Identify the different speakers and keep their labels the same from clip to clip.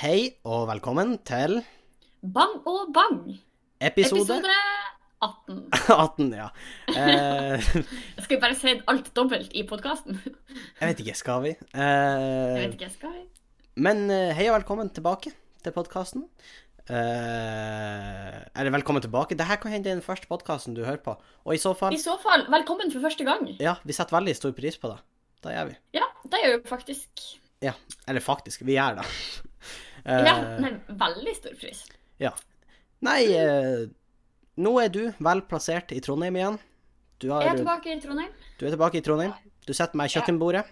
Speaker 1: Hei og velkommen til
Speaker 2: Bang og bang!
Speaker 1: episode,
Speaker 2: Episode
Speaker 1: 18.
Speaker 2: 18.
Speaker 1: Ja. Eh,
Speaker 2: Skal vi bare si alt dobbelt i podkasten?
Speaker 1: jeg vet ikke, skal vi? Eh,
Speaker 2: Jeg vet ikke, skal vi?
Speaker 1: men eh, hei og velkommen tilbake til podkasten. Eh, eller velkommen tilbake. Dette kan hende er den første podkasten du hører på. Og i så fall,
Speaker 2: I så fall, velkommen for første gang.
Speaker 1: ja, vi setter veldig stor pris på det. Det gjør vi.
Speaker 2: Ja, det er jo faktisk
Speaker 1: Eller faktisk, vi gjør det. Eh,
Speaker 2: Ja, nei, veldig stor pris.
Speaker 1: nei, eh, nå er du vel plassert i Trondheim igjen. Du, har,
Speaker 2: Jeg er tilbake i Trondheim.
Speaker 1: du er tilbake i Trondheim. Du sitter med
Speaker 2: Ja.
Speaker 1: kjøkkenbordet.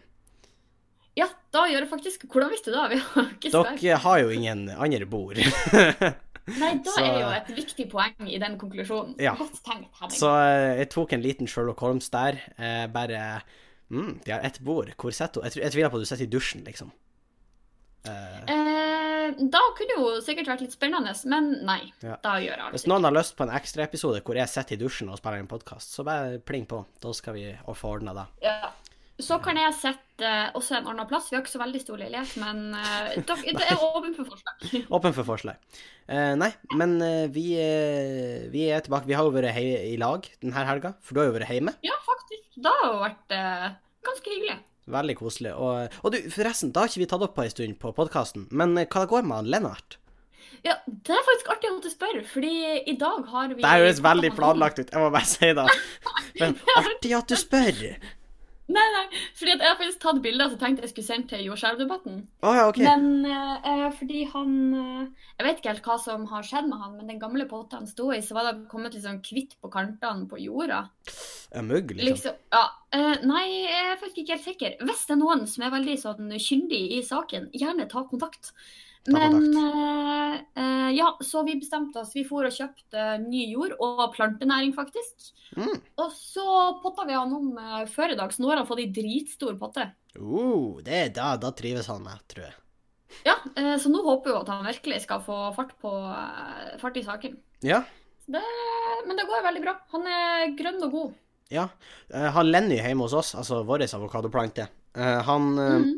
Speaker 2: Ja, da gjør jeg faktisk Hvordan visste du det? Vi har ikke Skype.
Speaker 1: Dere har jo ingen andre bord.
Speaker 2: Nei, da
Speaker 1: så-
Speaker 2: er jo et viktig poeng i den konklusjonen.
Speaker 1: Ja.
Speaker 2: Godt tenkt, Henning.
Speaker 1: Så eh, jeg tok en liten Sherlock Holmes der. eh, bare mm, De har ett bord. Hvor sitter hun? Jeg, tr- jeg tviler på at du sitter i dusjen, liksom. Eh,
Speaker 2: Eh, da kunne jo sikkert vært litt spennende, men nei.
Speaker 1: Ja.
Speaker 2: Da gjør jeg
Speaker 1: hvis
Speaker 2: altså.
Speaker 1: noen har lyst på en ekstraepisode hvor jeg sitter i dusjen og spiller en podkast, så bare pling på. Da skal vi og få ordna det.
Speaker 2: Ja. Så kan jeg sette eh, også en annen plass. Vi har ikke så veldig stor leilighet, men eh, da, det er åpen for forslag.
Speaker 1: Åpen for forslag. Eh, nei, men eh, vi, eh, vi er tilbake. Vi har jo vært hei i lag denne helga, for du har jo vært hjemme.
Speaker 2: Ja, faktisk. Det har jo vært eh, ganske hyggelig.
Speaker 1: Veldig koselig. Og, og du, forresten, det har ikke vi tatt opp på en stund på podkasten, men eh, hva det går med han Lennart?
Speaker 2: Ja, Det er faktisk artig at du spør, fordi i dag har vi
Speaker 1: Det høres veldig planlagt ut, jeg må bare si det. Men artig at du spør.
Speaker 2: Nei, nei, fordi at jeg har faktisk tatt bilder som jeg tenkte jeg skulle sende til jordskjelvdebatten.
Speaker 1: Å ja, OK.
Speaker 2: Men eh, eh, fordi han eh, Jeg vet ikke helt hva som har skjedd med han, men den gamle potta han sto i, så var det kommet litt sånn kvitt på kantene på jorda.
Speaker 1: Ja, mugg, liksom.
Speaker 2: Liksom, ja. eh, nei, jeg er faktisk ikke helt sikker. Hvis det er noen som er veldig sånn kyndig i saken, gjerne ta kontakt.
Speaker 1: Ta
Speaker 2: Men eh, eh, ja, så vi bestemte oss. Vi for og kjøpte eh, ny jord og plantenæring, faktisk.
Speaker 1: Mm.
Speaker 2: Og så potta vi han om eh, før i dag, så nå har han fått ei dritstor potte.
Speaker 1: Uh, det er da, da trives han med, tror jeg.
Speaker 2: Ja, eh, så nå håper vi at han virkelig skal få fart, på, eh, fart i saken.
Speaker 1: Ja.
Speaker 2: Det, men det går veldig bra. Han er grønn og god.
Speaker 1: ja. Eh, han Lenny hjemme hos oss, altså vår avokadoplante, eh, han, eh,
Speaker 2: Mhm.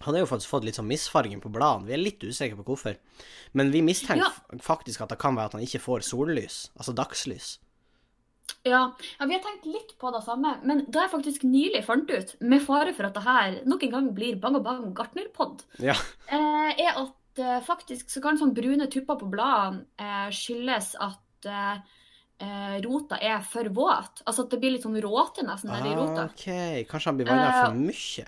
Speaker 1: han har jo faktisk fått litt sånn misfarging på bladene. Vi er litt usikre på hvorfor. Men vi mistenker
Speaker 2: Ja.
Speaker 1: f- faktisk at det kan være at han ikke får sollys, altså dagslys.
Speaker 2: Ja, ja, vi har tenkt litt på det samme, men da jeg faktisk nylig fant ut, med fare for at det her nok en gang blir bang og bang gartnerpod,
Speaker 1: Ja.
Speaker 2: eh, er at eh, faktisk så kan sånn brune tupper på bladene eh, skyldes at eh, eh, rota er for våt. Altså at det blir litt sånn råte nesten nedi
Speaker 1: Ah,
Speaker 2: rota.
Speaker 1: OK, kanskje han blir vanna
Speaker 2: Eh,
Speaker 1: for mye?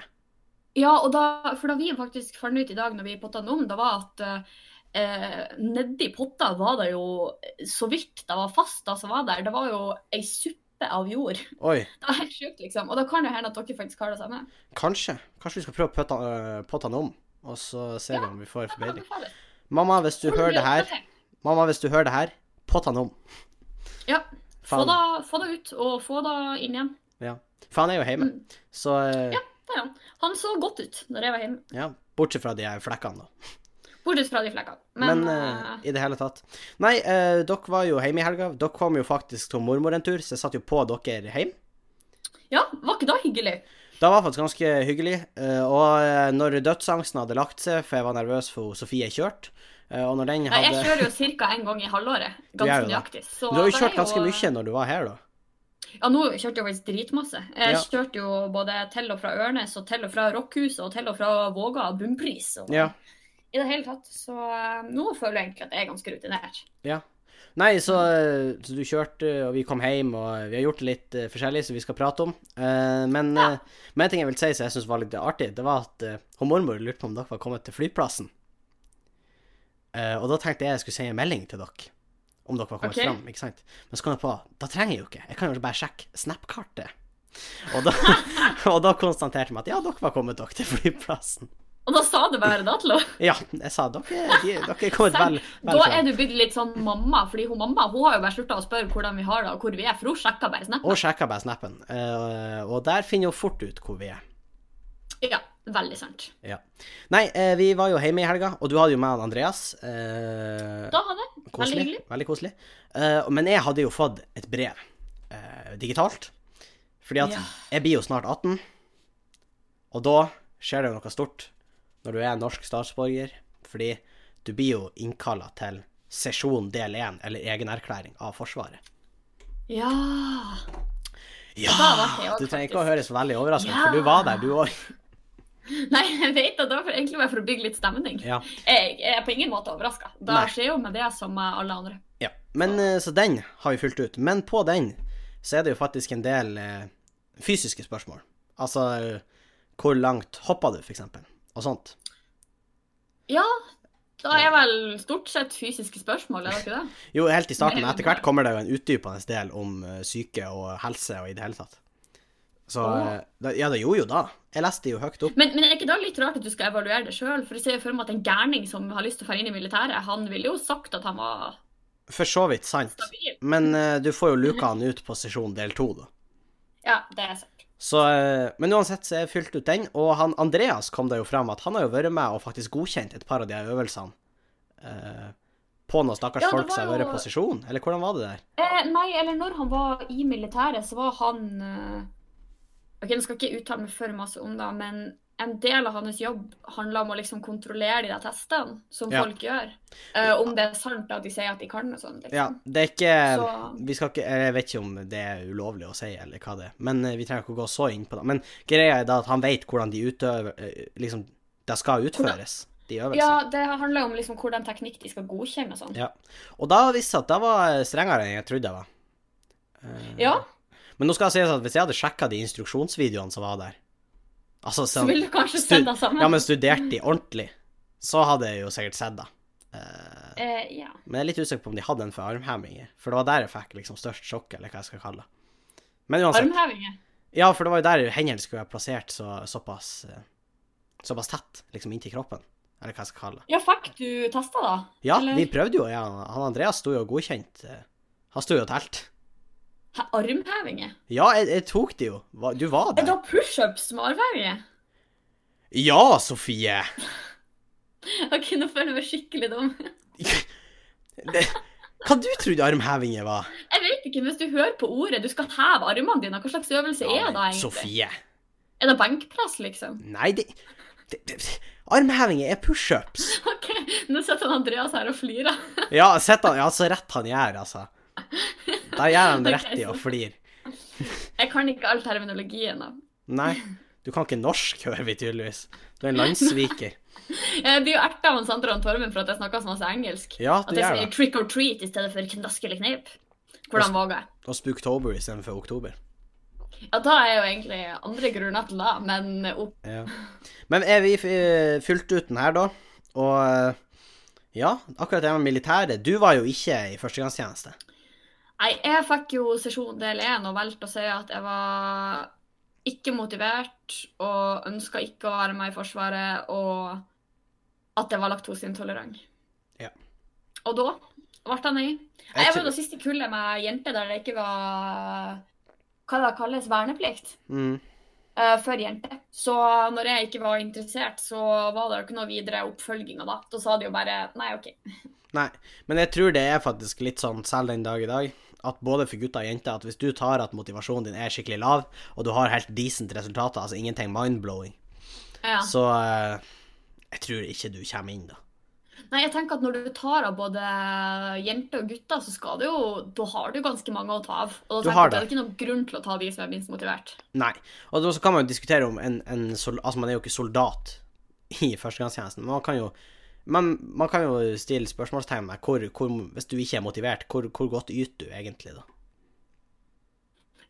Speaker 2: Ja, og da, for da vi faktisk fant ut i dag når vi potta den om, det var at eh, nedi potta var det jo eh, så vidt det var fast, da som var der. Det var jo ei suppe av jord.
Speaker 1: Oi,
Speaker 2: Det er helt sjukt, liksom. Og da kan det hende at dere faktisk har det samme.
Speaker 1: kanskje. Kanskje vi skal prøve å putte han- eh, potte han om, og så ser vi om vi får
Speaker 2: Det kan
Speaker 1: forbedring.
Speaker 2: anbefales.
Speaker 1: Mamma, hvis du
Speaker 2: Hold
Speaker 1: hører
Speaker 2: det
Speaker 1: det her,
Speaker 2: oppdatert.
Speaker 1: Mamma, hvis du hører det her, pott han om.
Speaker 2: Ja. Få
Speaker 1: Faen.
Speaker 2: det, få det ut, og få det inn igjen.
Speaker 1: For han er jo hjemme.
Speaker 2: Mm.
Speaker 1: Så eh,
Speaker 2: Der, ja. Han så godt ut når jeg var hjemme,
Speaker 1: ja, bortsett fra de her flekkene, da.
Speaker 2: bortsett fra de flekkene.
Speaker 1: Men
Speaker 2: Men,
Speaker 1: eh,
Speaker 2: eh,
Speaker 1: i det hele tatt. Nei, eh, dere var jo hjemme i helga. Dere kom jo faktisk til mormor en tur, så jeg satt jo på dere hjem.
Speaker 2: ja, var ikke det hyggelig?
Speaker 1: Det var faktisk ganske hyggelig. eh, og eh, når dødsangsten hadde lagt seg, for jeg var nervøs for Sofie kjørte, eh, og når den
Speaker 2: Nei, jeg
Speaker 1: hadde
Speaker 2: kjører jo ca. en gang i halvåret.
Speaker 1: Du gjør
Speaker 2: Ganske
Speaker 1: jo det.
Speaker 2: nøyaktig. Så
Speaker 1: Du har jo
Speaker 2: det
Speaker 1: kjørt
Speaker 2: er eh.
Speaker 1: ganske mye når du var her, da.
Speaker 2: Ja, nå kjørte jeg faktisk dritmasse. Jeg
Speaker 1: Ja.
Speaker 2: kjørte jo både til og fra Ørnes, og til og fra Rockhuset, og til og fra Våga bunnpris. Og
Speaker 1: Ja.
Speaker 2: I det hele tatt. Så eh, nå føler jeg egentlig at jeg er ganske rutinert.
Speaker 1: Nei, så, eh, så du kjørte, og vi kom hjem, og vi har gjort det litt eh, forskjellig, som vi skal prate om. Eh, men,
Speaker 2: Ja.
Speaker 1: eh, men en ting jeg vil si som jeg syns var litt artig, det var at eh, hun mormor lurte på om dere var kommet til flyplassen. Eh, og da tenkte jeg jeg skulle sende en melding til dere, om dere var kommet
Speaker 2: Ok.
Speaker 1: fram. ikke sant? Men så kom jeg på da trenger jeg jo ikke, jeg kan jo bare sjekke Snap-kartet. Og da, og da konstaterte de at ja, dere var kommet dere til flyplassen.
Speaker 2: Og da sa du bare da til henne.
Speaker 1: Ja, jeg sa dere, de, dere er kommet vel, vel
Speaker 2: Da
Speaker 1: fram.
Speaker 2: er du blitt litt sånn mamma, fordi hun mamma hun har jo bare slutta å spørre hvordan vi har det, og hvor vi er, for hun sjekker bare snappen.
Speaker 1: Og sjekka bare snappen. Eh, og der finner hun fort ut hvor vi er.
Speaker 2: Ja, veldig sant.
Speaker 1: Nei, eh, vi var jo hjemme i helga, og du hadde jo med han Andreas. Eh,
Speaker 2: Da hadde jeg.
Speaker 1: koselig.
Speaker 2: hyggelig.
Speaker 1: Veldig koselig. Eh, men jeg hadde jo fått et brev eh, digitalt. Fordi at
Speaker 2: Ja.
Speaker 1: jeg blir jo snart 18, og da skjer det jo noe stort når du er norsk statsborger Fordi du blir jo innkalla til sesjon del én, eller egenerklæring av Forsvaret.
Speaker 2: Ja.
Speaker 1: Ja!
Speaker 2: Da ble jeg også,
Speaker 1: Du trenger ikke å
Speaker 2: faktisk.
Speaker 1: høre så veldig overraskende,
Speaker 2: Ja.
Speaker 1: for du var der, du òg.
Speaker 2: Nei, jeg vet at det var for- egentlig bare for å bygge litt stemning.
Speaker 1: Ja.
Speaker 2: Jeg er på ingen måte overraska. Det
Speaker 1: Nei.
Speaker 2: skjer jo med det som med alle andre.
Speaker 1: Ja, men eh, så den har vi fulgt ut. Men på den så er det jo faktisk en del eh, fysiske spørsmål. Altså eh, hvor langt hoppa du, for eksempel, og sånt.
Speaker 2: Ja, da er vel stort sett fysiske spørsmål, er det ikke det?
Speaker 1: Jo, helt i starten, men etter hvert kommer det jo en utdypende del om eh, syke og helse og i det hele tatt. Så
Speaker 2: Åh.
Speaker 1: eh, da- Ja, det gjorde jo da. Jeg leste det jo høyt opp.
Speaker 2: Men, men er ikke det litt rart at du skal evaluere det sjøl? For jeg ser jo for meg at en gærning som har lyst til å fare inn i militæret, han ville jo sagt at han var
Speaker 1: For så vidt sant.
Speaker 2: stabil.
Speaker 1: Men eh, du får jo luka han ut på sesjon del to, da.
Speaker 2: Ja, det er sant.
Speaker 1: Så, eh, men uansett så er jeg fylt ut den, og han Andreas kom det jo fram at han har jo vært med og faktisk godkjent et par av de her øvelsene. eh, på noen stakkars
Speaker 2: Ja, det
Speaker 1: folk
Speaker 2: var
Speaker 1: som har vært
Speaker 2: jo-
Speaker 1: på sesjon, eller hvordan var det der?
Speaker 2: Eh, nei, eller når han var i militæret, så var han eh, Ok, nå skal ikke jeg uttale meg for masse om det, men en del av hans jobb handla om å liksom kontrollere de der testene som
Speaker 1: Ja.
Speaker 2: folk gjør. Eh, om det er sant at de sier at de kan og sånn.
Speaker 1: Ja,
Speaker 2: Liksom.
Speaker 1: det er ikke
Speaker 2: Så-
Speaker 1: Vi skal ikke Jeg vet ikke om det er ulovlig å si, eller hva det er, men eh, vi trenger ikke å gå så inn på det. Men greia er da at han vet hvordan de utøver eh, Liksom, det skal utføres, de
Speaker 2: Ja,
Speaker 1: øvelsene.
Speaker 2: det handler om liksom hvordan teknikk de skal godkjenne og sånn.
Speaker 1: Ja. Og da visste jeg at det var strengere enn jeg trodde det var. Eh,
Speaker 2: Ja,
Speaker 1: Men nå skal jeg si sånn at hvis jeg hadde sjekka de instruksjonsvideoene som var der Altså,
Speaker 2: så
Speaker 1: så,
Speaker 2: vil du kanskje
Speaker 1: Stud-
Speaker 2: sett det sammen.
Speaker 1: ja, men studert de ordentlig, så hadde jeg jo sikkert sett det. Eh,
Speaker 2: Eh, ja.
Speaker 1: men jeg er litt usikker på om de hadde en for armheminger, for det var der jeg fikk liksom størst sjokk, eller hva jeg skal kalle det. Men uansett.
Speaker 2: Armhevinger.
Speaker 1: Ja, for det var jo der hendene skulle være plassert så, såpass, eh, såpass tett, liksom inntil kroppen, eller hva jeg skal kalle det.
Speaker 2: Ja, fikk du testa, da?
Speaker 1: Ja,
Speaker 2: Eller-
Speaker 1: vi prøvde jo, ja. Han Andreas sto jo godkjent. eh, Han sto jo og telt.
Speaker 2: Hæ, Armhevinger?
Speaker 1: Ja, jeg, jeg tok det jo. Hva- Du var
Speaker 2: Er
Speaker 1: der.
Speaker 2: det pushups med armhevinger?
Speaker 1: Ja, Sofie!
Speaker 2: Ok, nå føler jeg meg skikkelig dum.
Speaker 1: Det, hva du trodde armhevinger var?
Speaker 2: Jeg vet ikke, hvis du hører på ordet, du skal heve armene dine, hva slags øvelse
Speaker 1: Ja,
Speaker 2: er
Speaker 1: men
Speaker 2: det egentlig?
Speaker 1: Sofie.
Speaker 2: Er det benkpress, liksom?
Speaker 1: Nei, det, det, det Armhevinger er pushups.
Speaker 2: Ok, nå sitter han Andreas her og flirer.
Speaker 1: Ja, sett han, ja, så rett han gjør, altså. Da gjør han det rett i å flire.
Speaker 2: Jeg kan ikke all terminologien. da.
Speaker 1: Nei, du kan ikke norsk, hører vi tydeligvis. Du er en landssviker.
Speaker 2: Jeg blir Eh, jo erta av han Sander og han Torben for at jeg snakker så masse engelsk.
Speaker 1: Ja,
Speaker 2: At
Speaker 1: du
Speaker 2: jeg
Speaker 1: gjør
Speaker 2: sier
Speaker 1: det.
Speaker 2: trick or treat i stedet for knask eller knep.
Speaker 1: Også-
Speaker 2: Hvordan våger jeg?
Speaker 1: Og spooktober istedenfor oktober.
Speaker 2: Ja, da er jo egentlig andre grunner til det, men opp.
Speaker 1: Ja. Men er vi eh, fylt ut den her, da? Og eh, ja, akkurat det med militæret. Du var jo ikke i førstegangstjeneste.
Speaker 2: Nei, jeg fikk jo sesjon del én og valgte å si at jeg var ikke motivert og ønska ikke å være med i Forsvaret, og at jeg var laktoseintolerant.
Speaker 1: Ja.
Speaker 2: Og da ble jeg nei.
Speaker 1: Jeg
Speaker 2: Jeg
Speaker 1: tror-
Speaker 2: var det siste kullet med jenter der det ikke var Hva det kalles? Verneplikt?
Speaker 1: Mm.
Speaker 2: eh, for jenter. Så når jeg ikke var interessert, så var det jo ikke noe videre oppfølging av det. Da sa de jo bare nei, OK.
Speaker 1: Nei, men jeg tror det er faktisk litt sånn selv den dag i dag, at både for gutter og jenter, at hvis du tar at motivasjonen din er skikkelig lav, og du har helt decent resultater, altså ingenting mind-blowing,
Speaker 2: Ja.
Speaker 1: så eh, jeg tror ikke du kommer inn da.
Speaker 2: Nei, jeg tenker at når du tar av både jenter og gutter, så skal du jo, da har du ganske mange å ta av. Og da
Speaker 1: Du
Speaker 2: tenker
Speaker 1: har
Speaker 2: jeg at det
Speaker 1: det.
Speaker 2: er ikke noen grunn til å ta de som er minst motivert.
Speaker 1: Nei, og da- så kan man jo diskutere om en, en sol, altså man er jo ikke soldat i førstegangstjenesten, men man kan jo men man kan jo stille spørsmålstegn med hvor, hvor, hvis du ikke er motivert, hvor, hvor godt yter du egentlig da?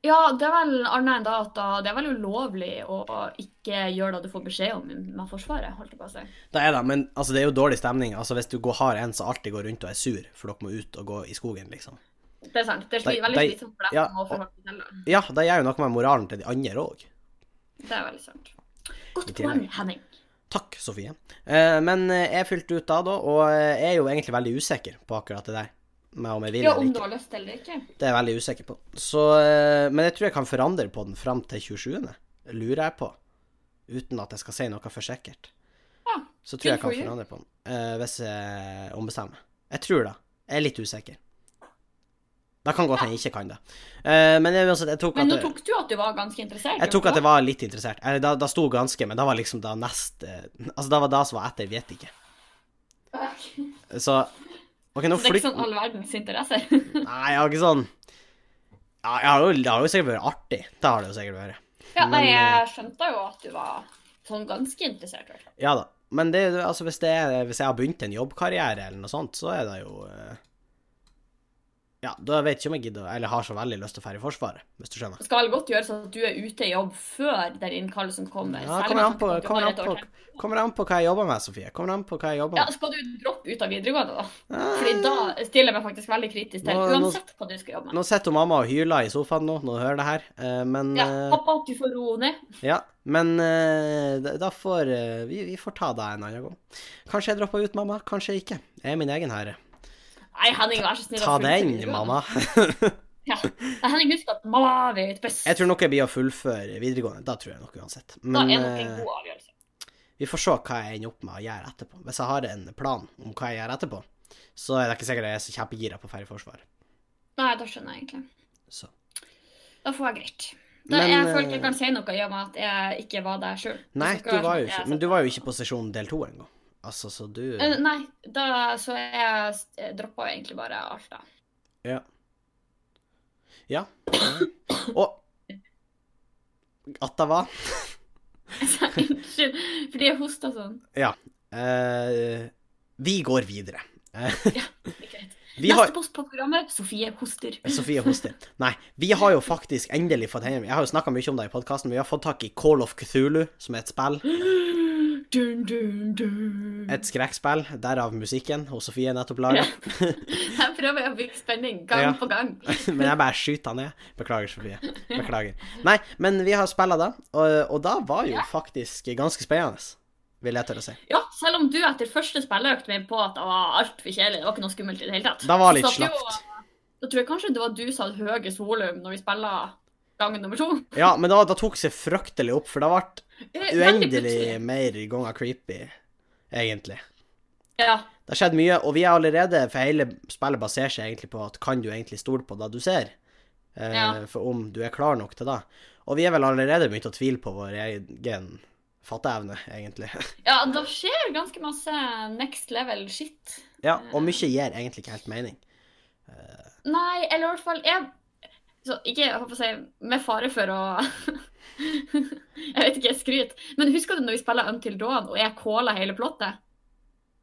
Speaker 2: Ja, det er vel annet enn da at da- det er vel ulovlig å ikke gjøre det du får beskjed om med Forsvaret, holdt jeg på å si.
Speaker 1: Det er det, men altså, det er jo dårlig stemning. Altså, hvis du går, har en som alltid går rundt og er sur, for dere må ut og gå i skogen, liksom.
Speaker 2: Det er sant. Det er
Speaker 1: Dei-
Speaker 2: sli, veldig
Speaker 1: dei-
Speaker 2: slitsomt for deg
Speaker 1: ja,
Speaker 2: som må
Speaker 1: og-
Speaker 2: forholde deg til det.
Speaker 1: Ja, det gjør jo noe med moralen til de andre òg.
Speaker 2: Det er veldig sant.
Speaker 1: I
Speaker 2: Godt
Speaker 1: tillegg.
Speaker 2: poeng, Henning.
Speaker 1: Takk, Sofie. Eh, men eh, jeg fylte ut da, da, og eh, jeg er jo egentlig veldig usikker på akkurat det der. Med om jeg vil
Speaker 2: Ja,
Speaker 1: eller
Speaker 2: om du
Speaker 1: ikke.
Speaker 2: har lyst eller ikke.
Speaker 1: Det er jeg veldig usikker på. Så, eh, men jeg tror jeg kan forandre på den fram til 27. Lurer jeg på. Uten at jeg skal si noe for sikkert.
Speaker 2: Ja,
Speaker 1: Så tror jeg jeg
Speaker 2: good for
Speaker 1: kan
Speaker 2: you.
Speaker 1: forandre på den, eh, hvis jeg ombestemmer. Jeg tror det. Jeg er litt usikker. Det kan godt hende jeg ikke kan det. Eh, men jeg, uansett, jeg tok
Speaker 2: Men
Speaker 1: at
Speaker 2: nå
Speaker 1: det-
Speaker 2: tok du at du var ganske interessert.
Speaker 1: Jeg tok at jeg var litt interessert. Eller, da, da sto ganske, men det var liksom da nest eh, Altså, det var da som var etter, vet ikke. Så OK, nå
Speaker 2: Så det er
Speaker 1: flytt...
Speaker 2: ikke sånn all verdens interesser.
Speaker 1: Nei, jeg har ikke sånn ja, jeg har jo, Det har jo sikkert vært artig. Det har det jo sikkert vært.
Speaker 2: Ja,
Speaker 1: Men,
Speaker 2: nei,
Speaker 1: eh,
Speaker 2: jeg skjønte jo at du var sånn ganske interessert, i hvert fall.
Speaker 1: Ja da. Men det, er jo- altså, hvis, det er, hvis jeg har begynt en jobbkarriere eller noe sånt, så er det jo eh, Ja, da vet jeg ikke om jeg gidder å- eller har så veldig lyst til å dra i Forsvaret, hvis du skjønner.
Speaker 2: Det skal vel godt gjøres at du er ute i jobb før den innkallelsen kommer.
Speaker 1: Ja,
Speaker 2: selv om
Speaker 1: kommer an
Speaker 2: jeg
Speaker 1: på,
Speaker 2: tenker at du
Speaker 1: kommer an
Speaker 2: har et år
Speaker 1: på,
Speaker 2: til.
Speaker 1: kommer an på hva jeg jobber med, Sofie. Kommer an på hva jeg jobber
Speaker 2: Ja,
Speaker 1: med.
Speaker 2: skal du droppe ut av videregående, da? Fordi
Speaker 1: Eh,
Speaker 2: da stiller jeg meg faktisk veldig kritisk til,
Speaker 1: Nå- nå-
Speaker 2: uansett hva du skal jobbe med.
Speaker 1: Nå sitter mamma og hyler i sofaen nå, når hun hører det her, eh, men
Speaker 2: Ja,
Speaker 1: eh,
Speaker 2: pappa, du får roe ned.
Speaker 1: Ja, men eh, da- da får eh, vi, vi får ta deg en annen gang. Kanskje jeg dropper ut, mamma. Kanskje ikke. Jeg er min egen herre.
Speaker 2: Nei, Henning, vær så snill.
Speaker 1: Ta
Speaker 2: og fullfør
Speaker 1: den,
Speaker 2: videregående.
Speaker 1: mamma.
Speaker 2: Ja. Nei, Henning, husk at mamma vet best.
Speaker 1: Jeg tror nok jeg blir å fullføre videregående. Da tror jeg nok uansett.
Speaker 2: da
Speaker 1: Men
Speaker 2: er nok en
Speaker 1: eh,
Speaker 2: god avgjørelse.
Speaker 1: vi får se hva jeg ender opp med å gjøre etterpå. Hvis jeg har en plan om hva jeg gjør etterpå, så er det ikke sikkert jeg er så kjempegira på å dra i Forsvaret.
Speaker 2: Nei, da skjønner jeg egentlig.
Speaker 1: Så.
Speaker 2: Da får jeg greit. Da,
Speaker 1: Men,
Speaker 2: jeg føler
Speaker 1: eh,
Speaker 2: ikke jeg kan si noe i og med at jeg ikke var der sjøl.
Speaker 1: Nei, du var jo ikke, men du var jo ikke på sesjon del to engang. Altså, så du
Speaker 2: Eh, Nei, da, så jeg droppa jo egentlig bare alt, da.
Speaker 1: Ja. Og at det var
Speaker 2: Så Altså, Unnskyld, fordi jeg hosta sånn.
Speaker 1: eh, Vi går videre. Eh,
Speaker 2: Det er greit.
Speaker 1: vi
Speaker 2: Neste
Speaker 1: har
Speaker 2: post på programmet Sofie hoster.
Speaker 1: Sofie hoster. Nei, vi har jo faktisk endelig fått hjem Jeg har jo snakka mye om det i podkasten, men vi har fått tak i Call of Cthulhu, som er et spill.
Speaker 2: Dun, dun, dun.
Speaker 1: Et skrekkspill, derav musikken hos Sofie nettopp laga.
Speaker 2: Her prøver jeg å bygge spenning gang
Speaker 1: Ja.
Speaker 2: på gang.
Speaker 1: men jeg bare skyter han ned. Beklager, Sofie. Beklager. Nei, men vi har spilla da, og, og da var jo faktisk ganske spennende, vil jeg tørre å si.
Speaker 2: Ja, selv om du etter første spilleøkt min på at det var altfor kjedelig, det var ikke noe skummelt i det hele tatt.
Speaker 1: Da var det litt
Speaker 2: Så satt jo-
Speaker 1: slapt.
Speaker 2: Da tror jeg kanskje det var du som hadde høyest volum når vi spilla gang nummer to.
Speaker 1: Ja, men da, da tok seg fryktelig opp, for det ble
Speaker 2: Eh, veldig
Speaker 1: uendelig
Speaker 2: plutselig.
Speaker 1: mer ganger creepy, egentlig.
Speaker 2: Ja.
Speaker 1: Det har skjedd mye, og vi er allerede For hele spillet baserer seg egentlig på at kan du egentlig stole på det du ser? Eh,
Speaker 2: Ja.
Speaker 1: For om du er klar nok til det. Og vi er vel allerede begynt å tvile på vår egen fatteevne, egentlig.
Speaker 2: ja, da skjer ganske masse next level shit.
Speaker 1: Ja, og mye gir egentlig ikke helt mening.
Speaker 2: Nei, eller i hvert fall jeg, så Ikke jeg håper å si, med fare for å Jeg vet ikke, jeg skryter. Men husker du når vi spilla Until Dawn, og jeg calla hele plottet?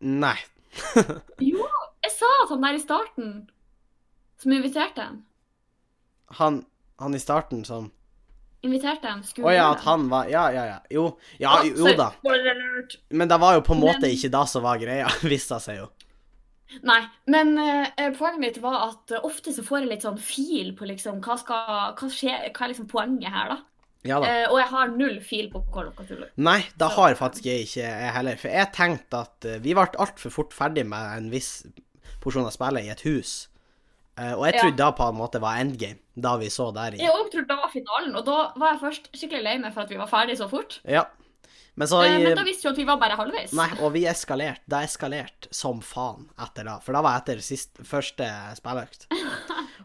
Speaker 1: Nei.
Speaker 2: Jo, jeg sa at han der i starten som inviterte dem,
Speaker 1: Han, han i starten som
Speaker 2: inviterte dem, skulle
Speaker 1: Å ja,
Speaker 2: gjøre
Speaker 1: at
Speaker 2: det.
Speaker 1: han var Ja, ja, ja. Jo, ja,
Speaker 2: Å,
Speaker 1: jo, jo
Speaker 2: sorry,
Speaker 1: da.
Speaker 2: spoiler alert.
Speaker 1: Men det var jo på en måte
Speaker 2: Men-
Speaker 1: ikke det som var greia, viste det seg jo.
Speaker 2: Nei, men eh, poenget mitt var at eh, ofte så får jeg litt sånn fil på liksom, hva, skal, hva, skjer, hva er liksom poenget her, da.
Speaker 1: Ja da.
Speaker 2: Eh, og jeg har null fil på Call of Cthulhu.
Speaker 1: Nei, det
Speaker 2: Så-
Speaker 1: har faktisk jeg ikke jeg heller. For jeg tenkte at eh, vi ble altfor fort ferdig med en viss porsjon av spillet i et hus. Eh, og jeg
Speaker 2: Ja.
Speaker 1: trodde da på en måte var endgame, da vi så der i
Speaker 2: Jeg òg trodde det var finalen, og da var jeg først skikkelig lei meg for at vi var ferdig så fort.
Speaker 1: Ja. Men så
Speaker 2: Eh,
Speaker 1: i-
Speaker 2: Men da visste vi at vi var bare halvveis.
Speaker 1: Nei, og vi eskalerte. Det eskalerte som faen etter det. For det var etter sist, første spilløkt.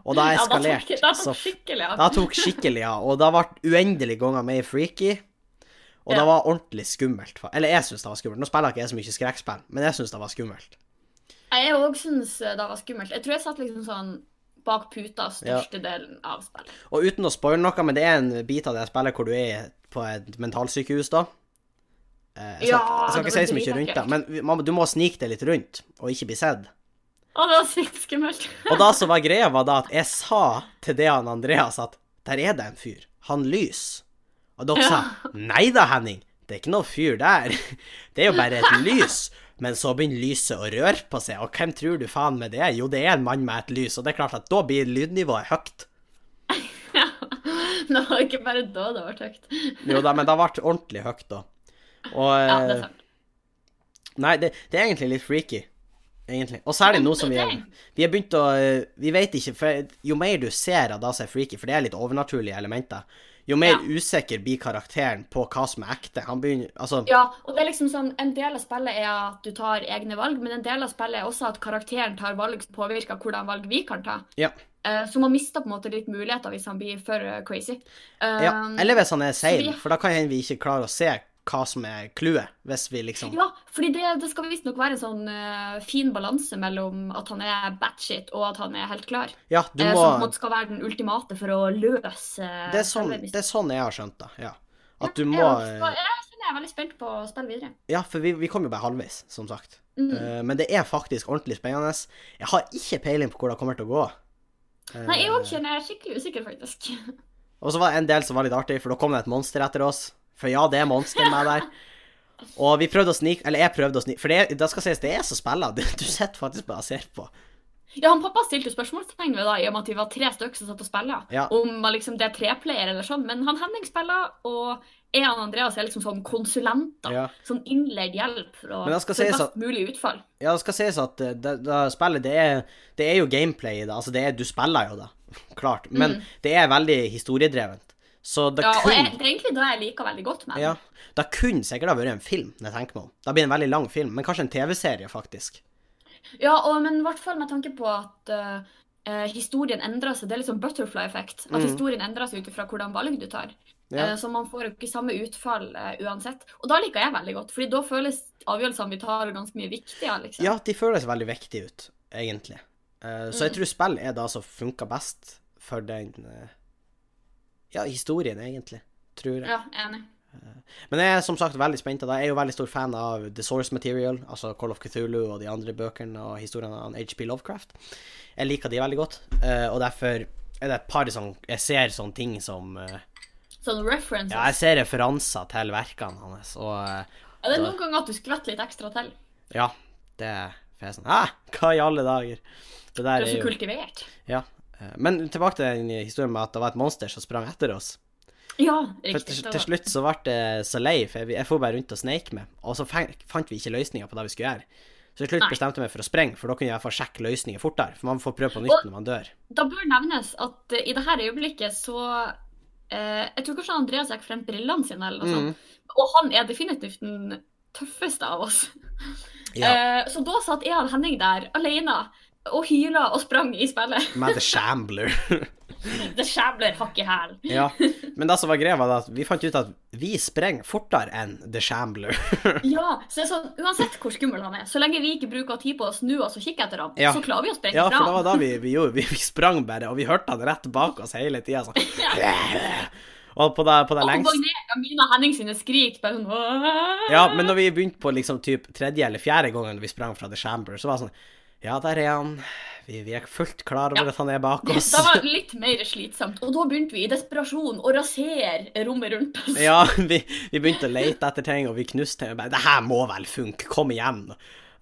Speaker 1: Og det
Speaker 2: Ja, da tok-
Speaker 1: eskalerte
Speaker 2: da
Speaker 1: så
Speaker 2: tok skikkelig av.
Speaker 1: Det tok skikkelig av, og det ble uendelig ganger mer freaky. Og det
Speaker 2: Ja.
Speaker 1: var ordentlig skummelt. fa- Eller jeg syns det var skummelt. Nå spiller ikke jeg så mye skrekkspill, men jeg syns det var skummelt.
Speaker 2: Jeg òg syns det var skummelt. Jeg tror jeg satt liksom sånn bak puta største delen av spillet.
Speaker 1: Og uten å spoile noe, men det er en bit av det spillet hvor du er på et mentalsykehus, da. Eh, Jeg skal,
Speaker 2: Ja,
Speaker 1: jeg skal
Speaker 2: det
Speaker 1: ikke si så
Speaker 2: var
Speaker 1: mye rundt det,
Speaker 2: dritakkelt.
Speaker 1: men vi- man, du må snike deg litt rundt, og ikke bli sett.
Speaker 2: Å, det var sykt skummelt.
Speaker 1: Og da som var greia, var da at jeg sa til det han Andreas at der er det en fyr. Han lys. Og dere sa nei da, Henning. Det er ikke noe fyr der. Det er jo bare et lys. Men så begynner lyset å røre på seg, og hvem tror du faen med det er? Jo, det er en mann med et lys, og det er klart at da blir lydnivået høyt.
Speaker 2: Ja. Det var ikke bare da det var tøkt.
Speaker 1: Jo da, men det ble ordentlig høyt, da. Og eh,
Speaker 2: Ja, det er sant.
Speaker 1: Nei, det, det er egentlig litt freaky. Egentlig. Og særlig nå som vi er, vi er begynt å eh, Vi vet ikke, for jo mer du ser av det som er freaky, for det er litt overnaturlige elementer, jo mer
Speaker 2: Ja.
Speaker 1: usikker blir karakteren på hva som er ekte. Han begynner Altså,
Speaker 2: Ja, og det er liksom sånn, En del av spillet er at du tar egne valg, men en del av spillet er også at karakteren tar valg som påvirker hvordan valg vi kan ta.
Speaker 1: Ja.
Speaker 2: Eh, Så man mister på en måte litt muligheter hvis han blir for eh, crazy.
Speaker 1: ja. Eller hvis han er
Speaker 2: Um, så vi-
Speaker 1: sein, for da kan hende vi ikke klarer å se hva som er clouet, hvis vi liksom
Speaker 2: Ja, Fordi det, det skal visstnok være en sånn eh, fin balanse mellom at han er batshit og at han er helt klar.
Speaker 1: Ja, du
Speaker 2: Eh,
Speaker 1: må
Speaker 2: som på en måte skal være den ultimate for å løse
Speaker 1: Det er sånn,
Speaker 2: selve
Speaker 1: det er sånn jeg har skjønt det. Ja. At du
Speaker 2: Ja,
Speaker 1: må
Speaker 2: så Jeg kjenner jeg er veldig spent på å spille videre.
Speaker 1: Ja, for vi, vi kom jo bare halvveis, som sagt.
Speaker 2: Mm.
Speaker 1: Eh, Men det er faktisk ordentlig spennende. Jeg har ikke peiling på hvor det kommer til å gå. Eh,
Speaker 2: Nei, jeg òg kjenner jeg er skikkelig usikker, faktisk.
Speaker 1: Og så var det en del som var litt artig, for da kom det et monster etter oss. For ja, det er monster med der. Og vi prøvde å snike Eller jeg prøvde å snike For det, det skal sies, det er så spiller. Du, du sitter faktisk bare og ser på.
Speaker 2: Ja, han Pappa stilte jo spørsmålstegn ved da, i og med at vi var tre stykker som satt og spilte.
Speaker 1: Ja.
Speaker 2: Om man liksom, det er treplayer eller sånn. Men han Henning spiller, og jeg og Andreas er liksom sånn konsulenter.
Speaker 1: Ja.
Speaker 2: Sånn innleid hjelp for å
Speaker 1: Men jeg skal
Speaker 2: for
Speaker 1: si
Speaker 2: best mulig utfall.
Speaker 1: Ja, det skal sies at eh, det, det spillet, det er, det er jo gameplay i det. Altså, det er, du spiller jo det, klart. Men det er veldig historiedrevent. Så det
Speaker 2: Mm. Ja, og
Speaker 1: kunne
Speaker 2: jeg, det er egentlig det jeg liker veldig godt med
Speaker 1: Ja.
Speaker 2: den.
Speaker 1: Det kunne sikkert ha vært en film, når jeg tenker meg om. Det blir en veldig lang film, men kanskje en TV-serie, faktisk.
Speaker 2: Ja, og, men i hvert fall med tanke på at eh, eh, historien endrer seg. Det er liksom butterfly-effekt. At
Speaker 1: Mm.
Speaker 2: historien endrer seg ut ifra hvordan valg du tar.
Speaker 1: Ja.
Speaker 2: Eh, så man får jo ikke samme utfall eh, uansett. Og da liker jeg veldig godt, fordi da føles avgjørelsene vi tar, ganske mye viktigere. liksom.
Speaker 1: Ja, de føles veldig viktige ut, egentlig. Eh, Så jeg
Speaker 2: Mm.
Speaker 1: tror spill er det som funker best for den eh, Ja, historien, egentlig. Tror jeg.
Speaker 2: ja enig.
Speaker 1: Men jeg er som sagt veldig spent. da. Jeg er jo veldig stor fan av The Source Material, altså Call of Cthulhu og de andre bøkene og historiene av HP Lovecraft. Jeg liker de veldig godt, eh, og derfor er det et par sånn Jeg ser sånne ting som eh,
Speaker 2: Sånn references.
Speaker 1: Ja, jeg ser referanser til verkene hans, og eh,
Speaker 2: Ja, det er noen ganger at du skvetter litt ekstra til.
Speaker 1: ja, det får jeg sånn Hæ, hva i alle dager? Det
Speaker 2: Du
Speaker 1: der
Speaker 2: er
Speaker 1: er
Speaker 2: så
Speaker 1: jo
Speaker 2: kultivert.
Speaker 1: Ja. eh, Men tilbake til den historien med at det var et monster som sprang etter oss.
Speaker 2: Ja,
Speaker 1: For
Speaker 2: riktig.
Speaker 1: til,
Speaker 2: det
Speaker 1: til
Speaker 2: var-
Speaker 1: slutt så ble jeg så lei, for jeg, jeg for bare rundt og sneik meg, og så fang, fant vi ikke løsninger på det vi skulle gjøre. Så til slutt
Speaker 2: Nei.
Speaker 1: bestemte jeg meg for å sprenge, for da kunne jeg i hvert fall sjekke løsninger fortere. For man får prøve på nytt når man dør.
Speaker 2: Da bør nevnes at eh, i det her øyeblikket så eh, Jeg tror kanskje Andreas gikk frem brillene sine, eller
Speaker 1: Mm.
Speaker 2: noe sånt. Og sånn. han er definitivt den tøffeste av oss.
Speaker 1: Ja,
Speaker 2: Eh, så da satt jeg og Henning der alene og hyla og sprang i spillet.
Speaker 1: med The Shambler.
Speaker 2: Det skjæbler hakk i hæl.
Speaker 1: ja. Men det som var greia, var at vi fant ut at vi sprenger fortere enn The Shambler.
Speaker 2: Ja, så det er sånn, uansett hvor skummel han er, så lenge vi ikke bruker tid på å snu oss og kikke etter ham,
Speaker 1: Ja.
Speaker 2: så klarer vi å sprenge
Speaker 1: ja, for
Speaker 2: fra.
Speaker 1: det var da vi, vi gjorde. Vi, vi sprang bare, og vi hørte han rett bak oss hele tida sånn. Og på det, på det
Speaker 2: og
Speaker 1: lengste
Speaker 2: kombinert av mine og Henning sine skrik bare sånn «Åh!»
Speaker 1: Ja, men når vi begynte på liksom typ tredje eller fjerde gangen vi sprang fra The Chamber, så var det sånn Ja, der er han. Vi, vi er fullt klar over at han er bak
Speaker 2: Det
Speaker 1: oss.
Speaker 2: det var litt mer slitsomt. Og da begynte vi i desperasjon å rasere rommet rundt oss.
Speaker 1: Ja, vi, vi begynte å lete etter ting, og vi knuste ting. og bare, Det her må vel funke, kom igjen.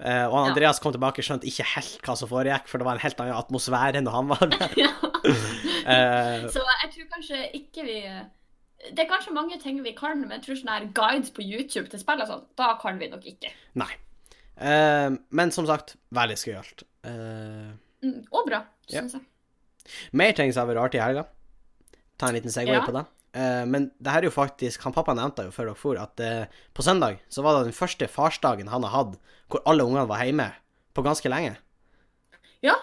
Speaker 1: Eh, og
Speaker 2: Ja.
Speaker 1: Andreas kom tilbake og skjønte ikke helt hva som foregikk, for det var en helt annen atmosfære når han var der. Eh,
Speaker 2: Så jeg tror kanskje ikke vi Det er kanskje mange ting vi kan, men jeg tror sånne her guides på YouTube til spill og sånn, da kan vi nok ikke.
Speaker 1: nei. Eh, men som sagt, veldig skummelt. Eh,
Speaker 2: Mm, og bra,
Speaker 1: Ja.
Speaker 2: syns jeg.
Speaker 1: Mer ting som har vært artig i helga. Ta en liten segway
Speaker 2: Ja.
Speaker 1: på det. Eh, men det her er jo faktisk Han pappa nevnte jo før dere for, at eh, på søndag så var det den første farsdagen han har hatt hvor alle ungene var hjemme på ganske lenge.
Speaker 2: Ja.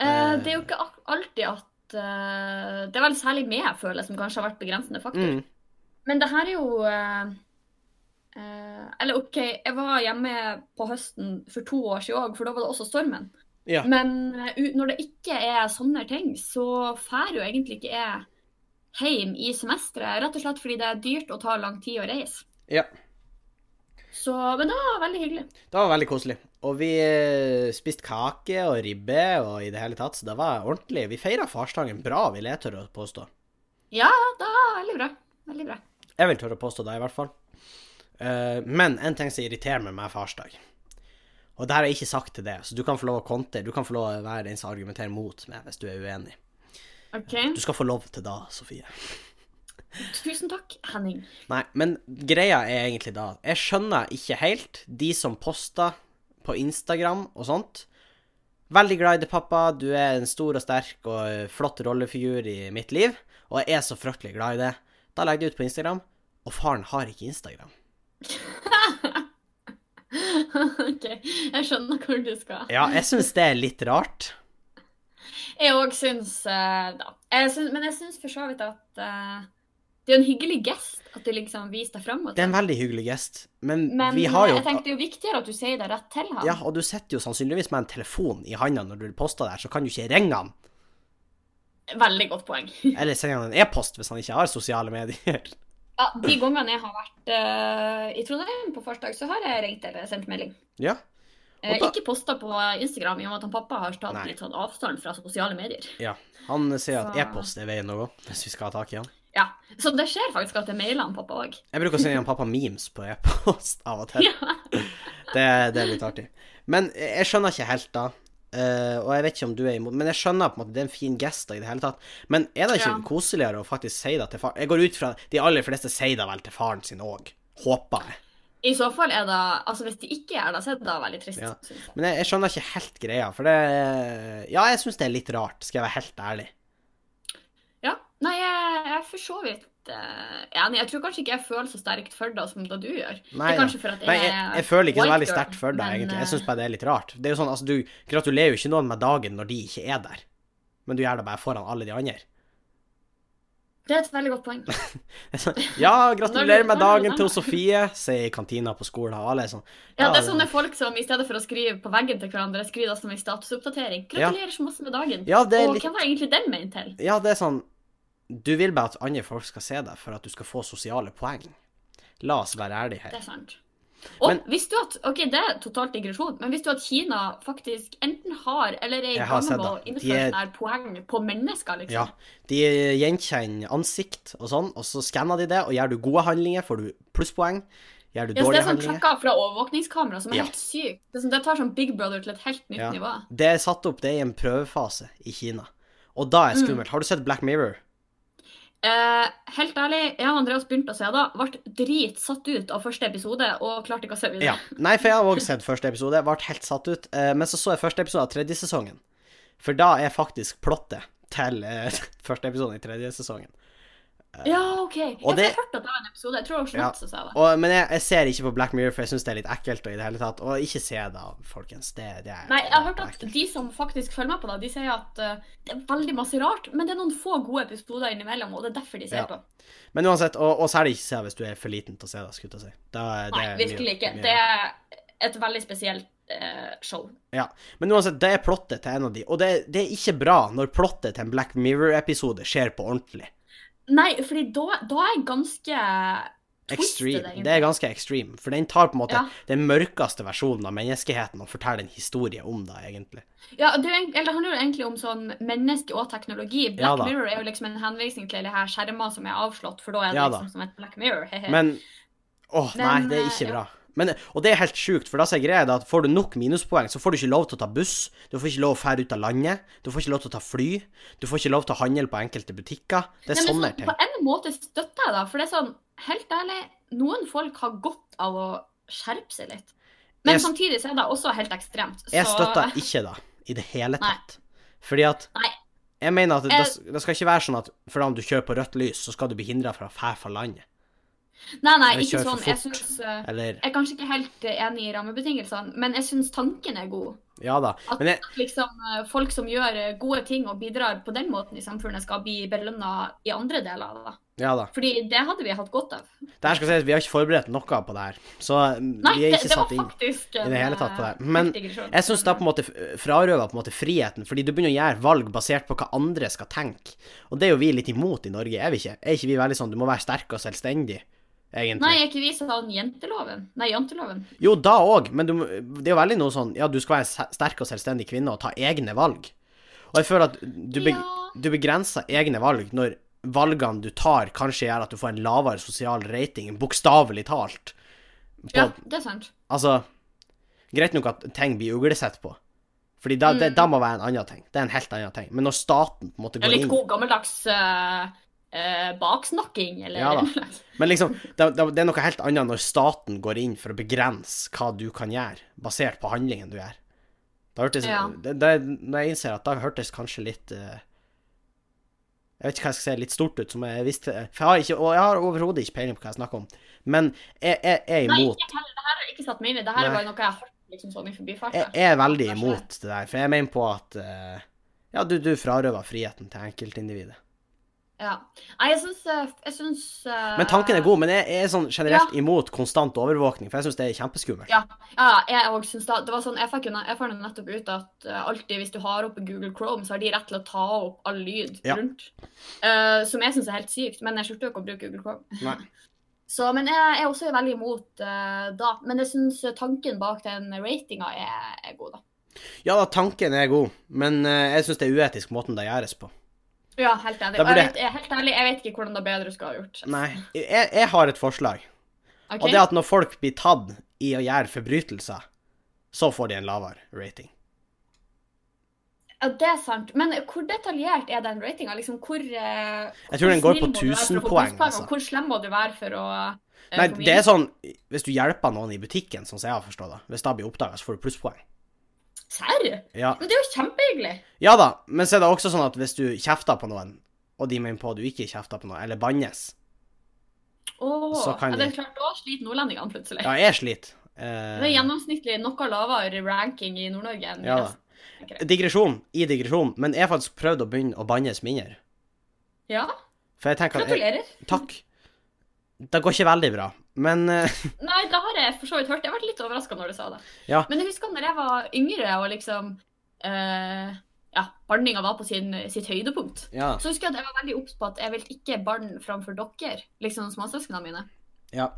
Speaker 2: Eh, det er jo ikke ak- alltid at eh, Det er vel særlig meg, jeg føler, som kanskje har vært begrensende faktor.
Speaker 1: Mm.
Speaker 2: Men det her er jo eh, eh, Eller OK, jeg var hjemme på høsten for to år siden òg, for da var det også stormen.
Speaker 1: Ja.
Speaker 2: Men eh, u- når det ikke er sånne ting, så drar jo egentlig ikke jeg hjem i semesteret. Rett og slett fordi det er dyrt og tar lang tid å reise.
Speaker 1: ja.
Speaker 2: Så, men det var veldig hyggelig.
Speaker 1: Det var veldig koselig. Og vi eh, spiste kake og ribbe og i det hele tatt, så det var ordentlig. Vi feira farsdagen bra, vil jeg tørre å påstå.
Speaker 2: Ja, det var veldig bra. Veldig bra.
Speaker 1: Jeg vil tørre å påstå det, i hvert fall. Eh, men en ting som irriterer meg med farsdag, og det her har jeg ikke sagt til deg, så du kan få lov å konte, du kan få lov å være den som argumenterer mot meg hvis du er uenig.
Speaker 2: OK.
Speaker 1: Du skal få lov til det, Sofie.
Speaker 2: Tusen takk, Henning.
Speaker 1: Nei, men greia er egentlig da Jeg skjønner ikke helt de som poster på Instagram og sånt. Veldig glad i deg, pappa. Du er en stor og sterk og eh, flott rollefigur i mitt liv. Og jeg er så fryktelig glad i det. Da legger de ut på Instagram, og faren har ikke Instagram.
Speaker 2: OK, jeg skjønner hvor du skal.
Speaker 1: Ja, jeg syns det er litt rart.
Speaker 2: Jeg òg syns eh, da. Jeg syns, men jeg syns for så vidt at eh, det Det er jo en hyggelig gest at det liksom viser deg fram.
Speaker 1: Det er en veldig hyggelig gest, men,
Speaker 2: Men eh,
Speaker 1: vi har jo
Speaker 2: jeg tenkte det er jo viktigere at du sier det rett til ham.
Speaker 1: Ja, og du sitter jo sannsynligvis med en telefon i handa når du poster der, så kan du ikke ringe han.
Speaker 2: Veldig godt poeng.
Speaker 1: Eller sende han en e-post hvis han ikke har sosiale medier.
Speaker 2: Ja, De gangene jeg har vært eh, i Trondheim på farsdag, så har jeg ringt eller sendt melding.
Speaker 1: Ja.
Speaker 2: Eh,
Speaker 1: Og da-
Speaker 2: ikke posta på Instagram, i og med at han pappa har tatt
Speaker 1: Nei.
Speaker 2: litt sånn avstand fra sosiale medier.
Speaker 1: Han sier at
Speaker 2: Så-
Speaker 1: e-post er veien å gå, hvis vi skal ha tak i han.
Speaker 2: Ja, Så det skjer faktisk at jeg mailer han pappa òg.
Speaker 1: Jeg bruker å sende han pappa memes på e-post av og til.
Speaker 2: Ja.
Speaker 1: Det, det er litt artig. Men jeg skjønner ikke helt, da. Eh, og jeg vet ikke om du er imot Men jeg skjønner på en måte det er en fin gest da, i det hele tatt. Men er det ikke
Speaker 2: Ja.
Speaker 1: koseligere å faktisk si det til far Jeg går ut fra de aller fleste sier det vel til faren sin òg. Håper jeg.
Speaker 2: I så fall er det Altså, hvis de ikke gjør det, så er det veldig trist.
Speaker 1: Ja.
Speaker 2: synes jeg.
Speaker 1: Men jeg, jeg skjønner ikke helt greia, for det Ja, jeg syns det er litt rart, skal jeg være helt ærlig.
Speaker 2: ja. Nei, jeg jeg er for så vidt eh, enig. Jeg tror kanskje ikke jeg føler så sterkt for det som det du gjør.
Speaker 1: Nei,
Speaker 2: det er
Speaker 1: da.
Speaker 2: kanskje for at
Speaker 1: Nei, jeg, jeg føler ikke så
Speaker 2: Eh, white
Speaker 1: veldig
Speaker 2: girl,
Speaker 1: sterkt for deg,
Speaker 2: men,
Speaker 1: egentlig.
Speaker 2: eh,
Speaker 1: Jeg syns bare det er litt rart. Det er jo sånn, altså, du gratulerer jo ikke noen med dagen når de ikke er der, men du gjør det bare foran alle de andre.
Speaker 2: Det er et veldig godt poeng.
Speaker 1: sånn, Ja, gratulerer
Speaker 2: Når-
Speaker 1: med
Speaker 2: når er det
Speaker 1: dagen
Speaker 2: den,
Speaker 1: til
Speaker 2: da?
Speaker 1: Sofie, sier i kantina på skolen, og alle er sånn
Speaker 2: Ja, Det er sånne folk som i stedet for å skrive på veggen til hverandre, skriver det som en statusoppdatering. Gratulerer så masse med dagen.
Speaker 1: Ja, det er
Speaker 2: Og
Speaker 1: litt
Speaker 2: hvem var egentlig den ment til?
Speaker 1: Ja, det er sånn Du vil bare at andre folk skal se deg for at du skal få sosiale poeng. La oss være ærlige her.
Speaker 2: Det er sant. Og
Speaker 1: Men-
Speaker 2: visste du at, ok, det er totalt digresjon, men visste du at Kina faktisk enten har eller er i
Speaker 1: Jeg har
Speaker 2: gang
Speaker 1: sett
Speaker 2: med
Speaker 1: det.
Speaker 2: å
Speaker 1: De
Speaker 2: innføre
Speaker 1: er-
Speaker 2: sånne her poeng på mennesker, liksom?
Speaker 1: Ja. De gjenkjenner ansikt og sånn, og så skanner de det, og gjør du gode handlinger, får du plusspoeng. Gjør du
Speaker 2: Ja, så det
Speaker 1: dårlige
Speaker 2: er sånn
Speaker 1: handlinger
Speaker 2: tracker fra overvåkningskamera som er
Speaker 1: Ja.
Speaker 2: helt sykt. Det, er sånn, det tar sånn Big Brother til et helt nytt
Speaker 1: Ja.
Speaker 2: nivå.
Speaker 1: Det er satt opp det er i en prøvefase i Kina, og da er det
Speaker 2: Mm.
Speaker 1: skummelt. Har du sett Black Mirror?
Speaker 2: Eh, helt ærlig, jeg og Andreas begynte å se det, ble dritsatt ut av første episode og klarte ikke å se videre.
Speaker 1: Ja. Nei, for jeg har òg sett første episode. Jeg ble helt satt ut. eh, Men så så jeg første episode av tredje sesongen. For da er faktisk plottet til eh, første episode i tredje sesongen.
Speaker 2: Ja, ok.
Speaker 1: Og
Speaker 2: Og
Speaker 1: det-
Speaker 2: Jeg hørte at det var en episode. Jeg tror det var
Speaker 1: Ja.
Speaker 2: Snapchat som sa det.
Speaker 1: Og, men jeg, jeg ser ikke på Black Mirror, for jeg syns det er litt ekkelt. Og i det hele tatt Og ikke se det, folkens. Det, det er
Speaker 2: Nei, jeg har hørt at
Speaker 1: ekkelt.
Speaker 2: de som faktisk følger med på det, de sier at eh, det er veldig masse rart, men det er noen få gode episoder innimellom, og det er derfor de ser
Speaker 1: Ja.
Speaker 2: på.
Speaker 1: Men uansett, og, og særlig ikke se det hvis du er for liten til å se det. skulle jeg til å si. Da, er-
Speaker 2: Nei,
Speaker 1: det er mye-
Speaker 2: virkelig ikke.
Speaker 1: mye-
Speaker 2: Det er et veldig spesielt eh, show.
Speaker 1: Men uansett, det er plottet til en av de. Og det, det er ikke bra når plottet til en Black Mirror-episode skjer på ordentlig.
Speaker 2: Nei, fordi da, da er jeg ganske twisted,
Speaker 1: Extreme.
Speaker 2: egentlig.
Speaker 1: Det er ganske extreme, for den tar på en måte
Speaker 2: Ja.
Speaker 1: den mørkeste versjonen av menneskeheten og forteller en historie om det, egentlig.
Speaker 2: Ja, det, er jo egentlig- eller det handler jo egentlig om sånn menneske og teknologi.
Speaker 1: Ja
Speaker 2: Black
Speaker 1: da.
Speaker 2: Mirror er jo liksom en henvisning til det her skjermer som er avslått, for da er det
Speaker 1: Ja da.
Speaker 2: liksom som et Black Mirror. hehe.
Speaker 1: Men åh, nei,
Speaker 2: Men,
Speaker 1: det er
Speaker 2: eh,
Speaker 1: ikke
Speaker 2: ja.
Speaker 1: bra. Men, og det er helt sjukt, for da sier greia det at får du nok minuspoeng, så får du ikke lov til å ta buss, du får ikke lov å fære ut av landet, du får ikke lov til å ta fly, du får ikke lov til å handle på enkelte butikker. Det er
Speaker 2: Nei, men
Speaker 1: sånne
Speaker 2: sånn,
Speaker 1: ting.
Speaker 2: På en måte støtter jeg det, for det er sånn, helt ærlig, noen folk har godt av å skjerpe seg litt. Men
Speaker 1: Jeg-
Speaker 2: samtidig så er det også helt ekstremt. Så
Speaker 1: Jeg støtter ikke det i det hele
Speaker 2: Nei.
Speaker 1: tatt. Fordi at
Speaker 2: Nei. Eh.
Speaker 1: Jeg mener at det,
Speaker 2: Jeg-
Speaker 1: det skal ikke være sånn at fordi om du kjører på rødt lys, så skal du bli hindra fra å fære fra landet.
Speaker 2: Nei, nei,
Speaker 1: Eller
Speaker 2: ikke
Speaker 1: kjører for
Speaker 2: sånn. Jeg
Speaker 1: fort.
Speaker 2: synes, eh,
Speaker 1: Eller
Speaker 2: jeg er kanskje ikke helt eh, enig i rammebetingelsene, men jeg syns tanken er god.
Speaker 1: Ja da.
Speaker 2: At-
Speaker 1: Men jeg,
Speaker 2: At liksom, eh, folk som gjør eh, gode ting og bidrar på den måten i samfunnet, skal bli belønna i andre deler av det.
Speaker 1: ja da.
Speaker 2: Fordi det hadde vi hatt godt av.
Speaker 1: Det her skal sies, vi har ikke forberedt noe på det her, så mm,
Speaker 2: Nei,
Speaker 1: vi er
Speaker 2: det,
Speaker 1: ikke
Speaker 2: det var
Speaker 1: satt inn.
Speaker 2: faktisk eh,
Speaker 1: i det hele tatt på det. Men Jeg syns det er på en måte f- frarøver på en måte friheten, fordi du begynner å gjøre valg basert på hva andre skal tenke, og det er jo vi litt imot i Norge, er vi ikke? Er ikke vi veldig sånn du må være sterk og selvstendig,
Speaker 2: Nei,
Speaker 1: egentlig?
Speaker 2: er ikke vi sånn jenteloven? Nei, janteloven.
Speaker 1: Jo, da òg, men du, må- det er jo veldig noe sånn ja, du skal være en se- sterk og selvstendig kvinne og ta egne valg, og jeg føler at du, beg
Speaker 2: Ja.
Speaker 1: du begrenser egne valg når valgene du tar, kanskje gjør at du får en lavere sosial rating, bokstavelig talt. På,
Speaker 2: Ja, det er sant.
Speaker 1: Altså, greit nok at ting blir uglesett på. Fordi da, det,
Speaker 2: Mm.
Speaker 1: da må være en annen ting. Det er en helt annen ting. Men når staten på en måte
Speaker 2: Ja,
Speaker 1: går
Speaker 2: litt
Speaker 1: inn
Speaker 2: god gammeldags eh, eh, baksnakking, eller
Speaker 1: Ja da. Men liksom, det, det, det er noe helt annet når staten går inn for å begrense hva du kan gjøre, basert på handlingen du gjør. Da hørtes
Speaker 2: Ja.
Speaker 1: det, det, Når jeg innser at da hørtes kanskje litt eh, Jeg vet ikke hva jeg skal si, litt stort ut, som jeg visste For jeg har, ikke- og jeg har overhodet ikke peiling på hva jeg snakker om. Men jeg, jeg, jeg er
Speaker 2: Nei,
Speaker 1: imot
Speaker 2: ikke heller. Det her har jeg ikke satt meg inn i. Det her
Speaker 1: Nei.
Speaker 2: er bare noe jeg har hørt liksom sånn i
Speaker 1: jeg
Speaker 2: forbifarten.
Speaker 1: jeg er veldig
Speaker 2: Kanskje.
Speaker 1: imot det der, for jeg mener på at eh, ja, du, du frarøver friheten til enkeltindividet.
Speaker 2: Ja. Nei, jeg syns eh, Jeg syns eh,
Speaker 1: Men tanken er god, men jeg er sånn generelt
Speaker 2: Ja.
Speaker 1: imot konstant overvåkning, for jeg syns det er kjempeskummelt.
Speaker 2: Ja. Ja, jeg òg syns det. Det var sånn, jeg fikk jo ne- jeg fant jo nettopp ut at eh, alltid hvis du har oppe Google Chrome, så har de rett til å ta opp all lyd
Speaker 1: Ja.
Speaker 2: rundt. Eh, som jeg syns er helt sykt, men jeg slutter jo ikke å bruke Google Chrome.
Speaker 1: Nei.
Speaker 2: Så, men jeg er også veldig imot eh, da. Men jeg syns tanken bak den ratinga er, er god, da.
Speaker 1: Ja da, tanken er god, men eh, jeg syns det er uetisk måten det gjøres på.
Speaker 2: Ja, helt enig.
Speaker 1: Da
Speaker 2: Og
Speaker 1: burde jeg-
Speaker 2: jeg, vet, jeg, er helt ærlig, jeg vet ikke hvordan det bedre skulle ha gjort.
Speaker 1: Nei. Jeg, jeg har et forslag,
Speaker 2: Ok?
Speaker 1: og det er at når folk blir tatt i å gjøre forbrytelser, så får de en lavere rating.
Speaker 2: Ja, det er sant. Men hvor detaljert er den ratinga? Liksom, hvor eh,
Speaker 1: Jeg tror den går
Speaker 2: snill
Speaker 1: på 1000
Speaker 2: må du være for å få
Speaker 1: poeng,
Speaker 2: plusspoeng,
Speaker 1: altså.
Speaker 2: Og hvor slem må du være for å eh,
Speaker 1: Nei,
Speaker 2: få
Speaker 1: det er
Speaker 2: minus?
Speaker 1: sånn Hvis du hjelper noen i butikken, sånn som jeg har forstått det, hvis det blir oppdaga, så får du plusspoeng.
Speaker 2: Serr?
Speaker 1: Ja.
Speaker 2: Men det er jo kjempehyggelig.
Speaker 1: ja da, men så er det også sånn at hvis du kjefter på noen, og de mener på at du ikke kjefter på noen, eller bannes
Speaker 2: Åh,
Speaker 1: Så kan
Speaker 2: ja,
Speaker 1: de-
Speaker 2: det er klart, da sliter nordlendingene plutselig.
Speaker 1: Ja, jeg sliter.
Speaker 2: Det er
Speaker 1: Eh,
Speaker 2: gjennomsnittlig noe lavere ranking i Nord-Norge enn i
Speaker 1: ja da.
Speaker 2: resten.
Speaker 1: Digresjon i digresjon, men jeg har faktisk prøvd å begynne å bannes mindre.
Speaker 2: Ja,
Speaker 1: For jeg tenker at jeg,
Speaker 2: gratulerer.
Speaker 1: Takk. Det går ikke veldig bra, men eh,
Speaker 2: Nei, det har jeg for så vidt hørt. Jeg ble litt overraska når du sa det.
Speaker 1: Ja.
Speaker 2: Men jeg husker når jeg var yngre og liksom eh, Ja, banninga var på sin, sitt høydepunkt.
Speaker 1: Ja.
Speaker 2: Så husker jeg at jeg var veldig obs på at jeg vil ikke banne framfor dere, liksom småsøsknene mine.
Speaker 1: ja.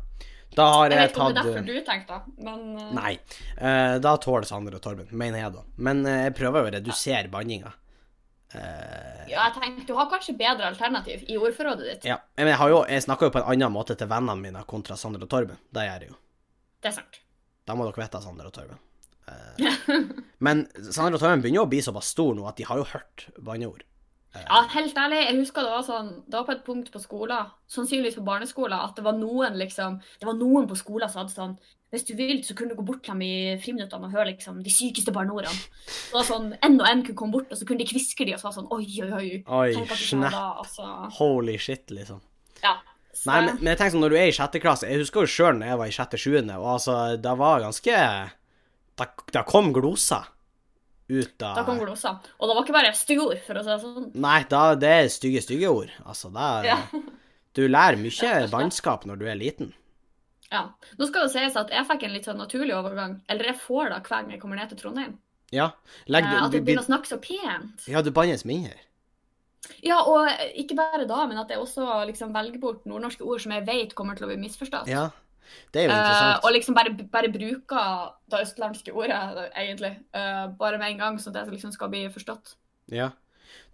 Speaker 1: Da har
Speaker 2: Jeg
Speaker 1: jeg
Speaker 2: vet ikke om
Speaker 1: tatt eh,
Speaker 2: det er derfor du tenkte, da, men eh,
Speaker 1: Nei. Eh, da tåler Sander og Torben, mener jeg da. Men eh, jeg prøver jo å redusere banninga. Eh,
Speaker 2: ja, jeg tenkte du har kanskje bedre alternativ i ordforrådet ditt.
Speaker 1: ja. Men jeg, har jo, jeg snakker jo på en annen måte til vennene mine kontra Sander og Torben. Det gjør jeg jo.
Speaker 2: Det er sant.
Speaker 1: Da må dere vite Sander og Torben. Eh, men Sander og Torben begynner jo å bli såpass stor nå at de har jo hørt banneord.
Speaker 2: Ja, helt ærlig, jeg husker det var sånn Det var på et punkt på skolen, sannsynligvis på barneskolen, at det var noen liksom Det var noen på skolen som hadde sånn Hvis du vil, så kunne du gå bort til dem i friminuttene og høre liksom de sykeste barneordene. Så det var sånn En og en kunne komme bort, og så kunne de kviske de og så var det sånn Oi, oi, oi.
Speaker 1: Oi,
Speaker 2: Tenk at du sa
Speaker 1: snap.
Speaker 2: da, altså.
Speaker 1: Holy shit, liksom.
Speaker 2: Ja. Så,
Speaker 1: Nei, men, men jeg tenker sånn, når du er i sjette klasse Jeg husker jo sjøl når jeg var i sjette, sjuende, og altså, det var ganske Da, da kom gloser ut av
Speaker 2: Da kom glosa. Og det var ikke bare stygge ord, for å si det sånn.
Speaker 1: Nei, da, det er stygge, stygge ord. Altså, det er
Speaker 2: Ja.
Speaker 1: Du lærer mye bannskap når du er liten.
Speaker 2: ja. Nå skal det sies at jeg fikk en litt sånn naturlig overgang. Eller jeg får det hver gang jeg kommer ned til Trondheim.
Speaker 1: Ja. Legg,
Speaker 2: Eh, At
Speaker 1: du,
Speaker 2: jeg
Speaker 1: du,
Speaker 2: begynner å snakke så pent.
Speaker 1: ja, du bannes mindre.
Speaker 2: Ja, og ikke bare da, men at jeg også liksom velger bort nordnorske ord som jeg vet kommer til å bli misforstått.
Speaker 1: Ja. Det er jo
Speaker 2: Eh,
Speaker 1: interessant.
Speaker 2: og liksom bare, bare bruker det østlandske ordet, egentlig. eh, bare med en gang, så det liksom skal bli forstått.
Speaker 1: ja.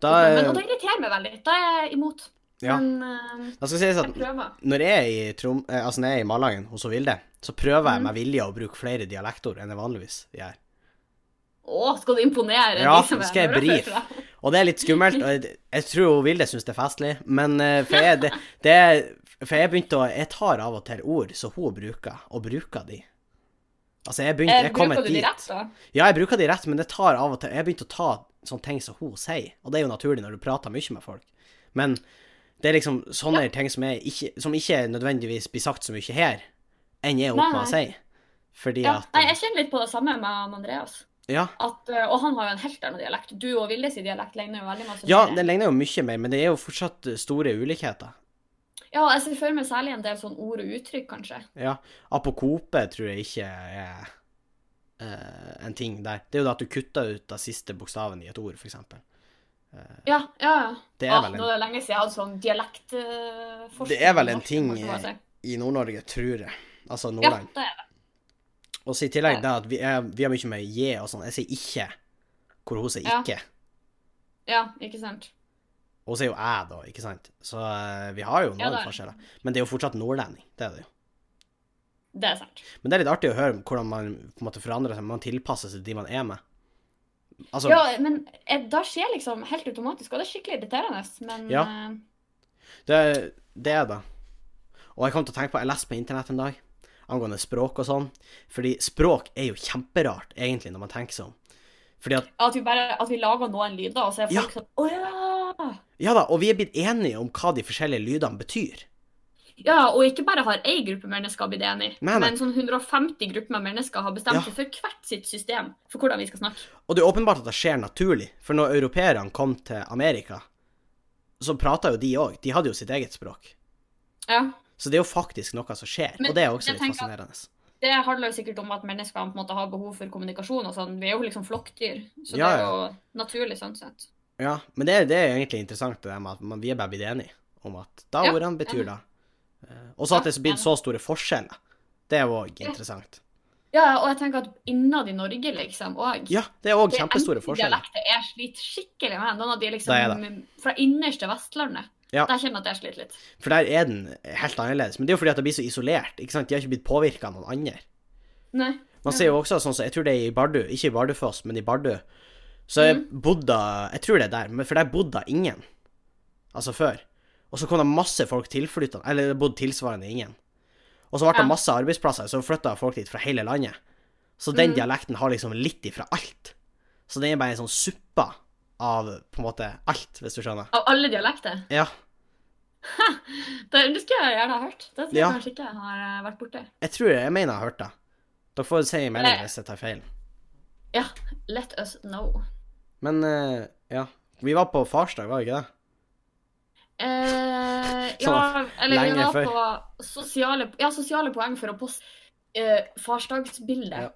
Speaker 1: Da,
Speaker 2: men, og det irriterer meg veldig. Da er jeg imot.
Speaker 1: ja.
Speaker 2: Men eh,
Speaker 1: Da skal sies
Speaker 2: jeg
Speaker 1: at
Speaker 2: prøver.
Speaker 1: når jeg er i, Trom, eh, altså, når jeg er i Malangen hos Vilde, så prøver jeg
Speaker 2: Mhm.
Speaker 1: med vilje å bruke flere dialektord enn jeg vanligvis gjør.
Speaker 2: Å, skal du imponere
Speaker 1: Ja,
Speaker 2: de som er Eh,
Speaker 1: skal jeg
Speaker 2: nordafra?
Speaker 1: brief? Og det er litt skummelt. og Jeg, jeg tror hun Vilde syns det er festlig, men eh, for jeg, det, det, for jeg begynte å Jeg tar av og til ord som hun bruker, og bruker de. Altså, jeg begynte
Speaker 2: Eh,
Speaker 1: Jeg kom
Speaker 2: bruker du de
Speaker 1: dit.
Speaker 2: rett, da?
Speaker 1: Ja, jeg bruker de rett, men jeg tar av og til Jeg begynte å ta sånne ting som hun sier, og det er jo naturlig når du prater mye med folk, men det er liksom sånne ting som, jeg ikke, som ikke nødvendigvis blir sagt så mye her, enn jeg er oppe med å si. Fordi
Speaker 2: Ja.
Speaker 1: at
Speaker 2: Nei, jeg kjenner litt på det samme med han Andreas.
Speaker 1: Ja.
Speaker 2: At, eh, og han har jo en helt annen dialekt. Du og Vildes dialekt ligner jo veldig masse.
Speaker 1: Ja,
Speaker 2: mer.
Speaker 1: den ligner jo mye mer, men det er jo fortsatt store ulikheter.
Speaker 2: Ja, jeg ser for meg særlig en del sånn ord og uttrykk, kanskje.
Speaker 1: Ja. Apokope tror jeg ikke er eh, en ting der. Det er jo det at du kutter ut den siste bokstaven i et ord, for eksempel.
Speaker 2: Ja, ja, ja.
Speaker 1: Det er
Speaker 2: Ah,
Speaker 1: vel en-
Speaker 2: nå er det lenge siden jeg hadde sånn dialektforskning.
Speaker 1: Det er vel en ting,
Speaker 2: Ja,
Speaker 1: I Nord-Norge, tror jeg. Altså
Speaker 2: det
Speaker 1: Nordland.
Speaker 2: er det.
Speaker 1: Og så i tillegg det at vi, er, vi har mye med je og sånn. Jeg sier ikke, hvor hun sier
Speaker 2: Ja.
Speaker 1: ikke.
Speaker 2: Ja, ikke sant.
Speaker 1: Og hun sier jo jeg, da, ikke sant? Så eh, vi har jo
Speaker 2: Ja,
Speaker 1: noen
Speaker 2: det er-
Speaker 1: forskjeller. Men det er jo fortsatt nordlending, det er det jo.
Speaker 2: Det er sant.
Speaker 1: Men det er litt artig å høre om hvordan man på en måte forandrer seg. Man tilpasser seg de man er med. Altså,
Speaker 2: Ja, men eh, da skjer liksom helt automatisk, og det er skikkelig irriterende, men
Speaker 1: Ja.
Speaker 2: eh,
Speaker 1: det, det er det. Og jeg kom til å tenke på, jeg leste på internett en dag angående språk og sånn. Fordi språk er jo kjemperart, egentlig, når man tenker seg om. Fordi at
Speaker 2: at vi bare at vi lager noen lyder, og så er
Speaker 1: Ja.
Speaker 2: folk sånn Å ja!
Speaker 1: Ja da, og vi er blitt enige om hva de forskjellige lydene betyr.
Speaker 2: Ja, og ikke bare har ei gruppe mennesker blitt enig,
Speaker 1: Nei, nei.
Speaker 2: men sånn 150 grupper med mennesker har bestemt
Speaker 1: Ja.
Speaker 2: seg for hvert sitt system for hvordan vi skal snakke.
Speaker 1: Og det er åpenbart at det skjer naturlig, for når europeerne kom til Amerika, så prata jo de òg. De hadde jo sitt eget språk.
Speaker 2: Ja.
Speaker 1: Så det er jo faktisk noe som skjer,
Speaker 2: Men
Speaker 1: og det er også
Speaker 2: jeg
Speaker 1: litt
Speaker 2: tenker at-
Speaker 1: fascinerende.
Speaker 2: Det handler jo sikkert om at menneskene på en måte har behov for kommunikasjon og sånn. Vi er jo liksom flokkdyr, så
Speaker 1: Ja,
Speaker 2: det er
Speaker 1: ja.
Speaker 2: jo naturlig sånn sett.
Speaker 1: Ja, men det, er- det er egentlig interessant det der med at man, vi er bare blitt enige om at da
Speaker 2: Ja,
Speaker 1: ordene betyr da. Eh, Og så at det er
Speaker 2: Ja,
Speaker 1: blitt så store forskjeller. Det er jo òg interessant.
Speaker 2: Ja, og jeg tenker at innad i Norge liksom òg
Speaker 1: Ja, det er òg kjempestore forskjeller.
Speaker 2: Dialekter jeg sliter skikkelig med. Noen av de
Speaker 1: Det
Speaker 2: liksom fra innerste Vestlandet.
Speaker 1: Ja.
Speaker 2: Der kjenner jeg at jeg sliter litt.
Speaker 1: For der er den helt annerledes. Men det er jo fordi at det blir så isolert. ikke sant? De har ikke blitt påvirka av noen andre.
Speaker 2: Nei.
Speaker 1: Man
Speaker 2: Ja.
Speaker 1: ser jo også sånn som Jeg tror det er i Bardu, ikke i Bardufoss, men i Bardu. Så jeg
Speaker 2: Mm.
Speaker 1: bodde Jeg tror det er der, men for der bodde ingen. Altså før. Og så kom det masse folk tilflyttende, eller det bodde tilsvarende ingen. Og så ble
Speaker 2: Ja.
Speaker 1: det masse arbeidsplasser, så flytta folk dit fra hele landet. Så den
Speaker 2: Mhm.
Speaker 1: dialekten har liksom litt ifra alt. Så den er bare en sånn suppe av på en måte alt, hvis du skjønner.
Speaker 2: Av alle dialekter.
Speaker 1: Ja.
Speaker 2: Det, det skulle jeg gjerne ha hørt. Det tror jeg
Speaker 1: Ja.
Speaker 2: kanskje ikke jeg har eh, vært borti.
Speaker 1: Jeg tror jeg mener jeg har hørt det. Dere får si i melding
Speaker 2: Eller-
Speaker 1: hvis jeg tar feil.
Speaker 2: Ja. Let us know.
Speaker 1: Men eh, ja. Vi var på farsdag, var vi ikke det?
Speaker 2: Eh,
Speaker 1: Sånn,
Speaker 2: ja, eller vi
Speaker 1: lenge
Speaker 2: var
Speaker 1: før.
Speaker 2: på sosiale, ja, sosiale poeng for å poste eh, farsdagsbildet.
Speaker 1: Ja.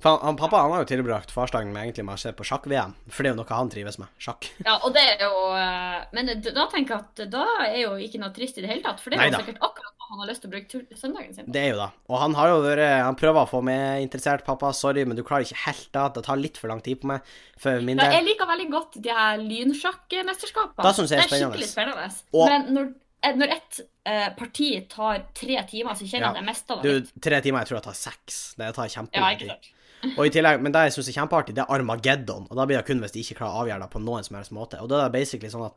Speaker 1: For han, han, pappa han har jo tilbrakt farsdagen med egentlig med å se på sjakk-VM, for det er jo noe han trives med. Sjakk.
Speaker 2: Ja, og det er jo eh, Men d- da tenker jeg at da er jo ikke noe trist i det hele tatt. For det er jo
Speaker 1: Neida.
Speaker 2: sikkert akkurat hva han har lyst til å bruke tur søndagen sin på.
Speaker 1: Det er jo da. Og han har jo vært Han prøver å få meg interessert, pappa. Sorry, men du klarer ikke helt da. Det tar litt for lang tid på meg. For min
Speaker 2: Ja,
Speaker 1: del.
Speaker 2: jeg liker veldig godt de her lynsjakkmesterskapene.
Speaker 1: Da synes jeg det er
Speaker 2: det er skikkelig spennende.
Speaker 1: Og-
Speaker 2: Men når, eh, når ett eh, parti tar tre timer, så kjenner
Speaker 1: Ja.
Speaker 2: jeg at jeg mista det.
Speaker 1: Du, tre timer, jeg tror det tar seks. Det tar
Speaker 2: litt. Ja,
Speaker 1: kjempelang
Speaker 2: ikke
Speaker 1: tid.
Speaker 2: sant.
Speaker 1: Og i tillegg, men det jeg syns er kjempeartig, det er Armageddon. Og da blir det kun hvis de ikke klarer å avgjøre det på noen som helst måte. Og da er det basically sånn at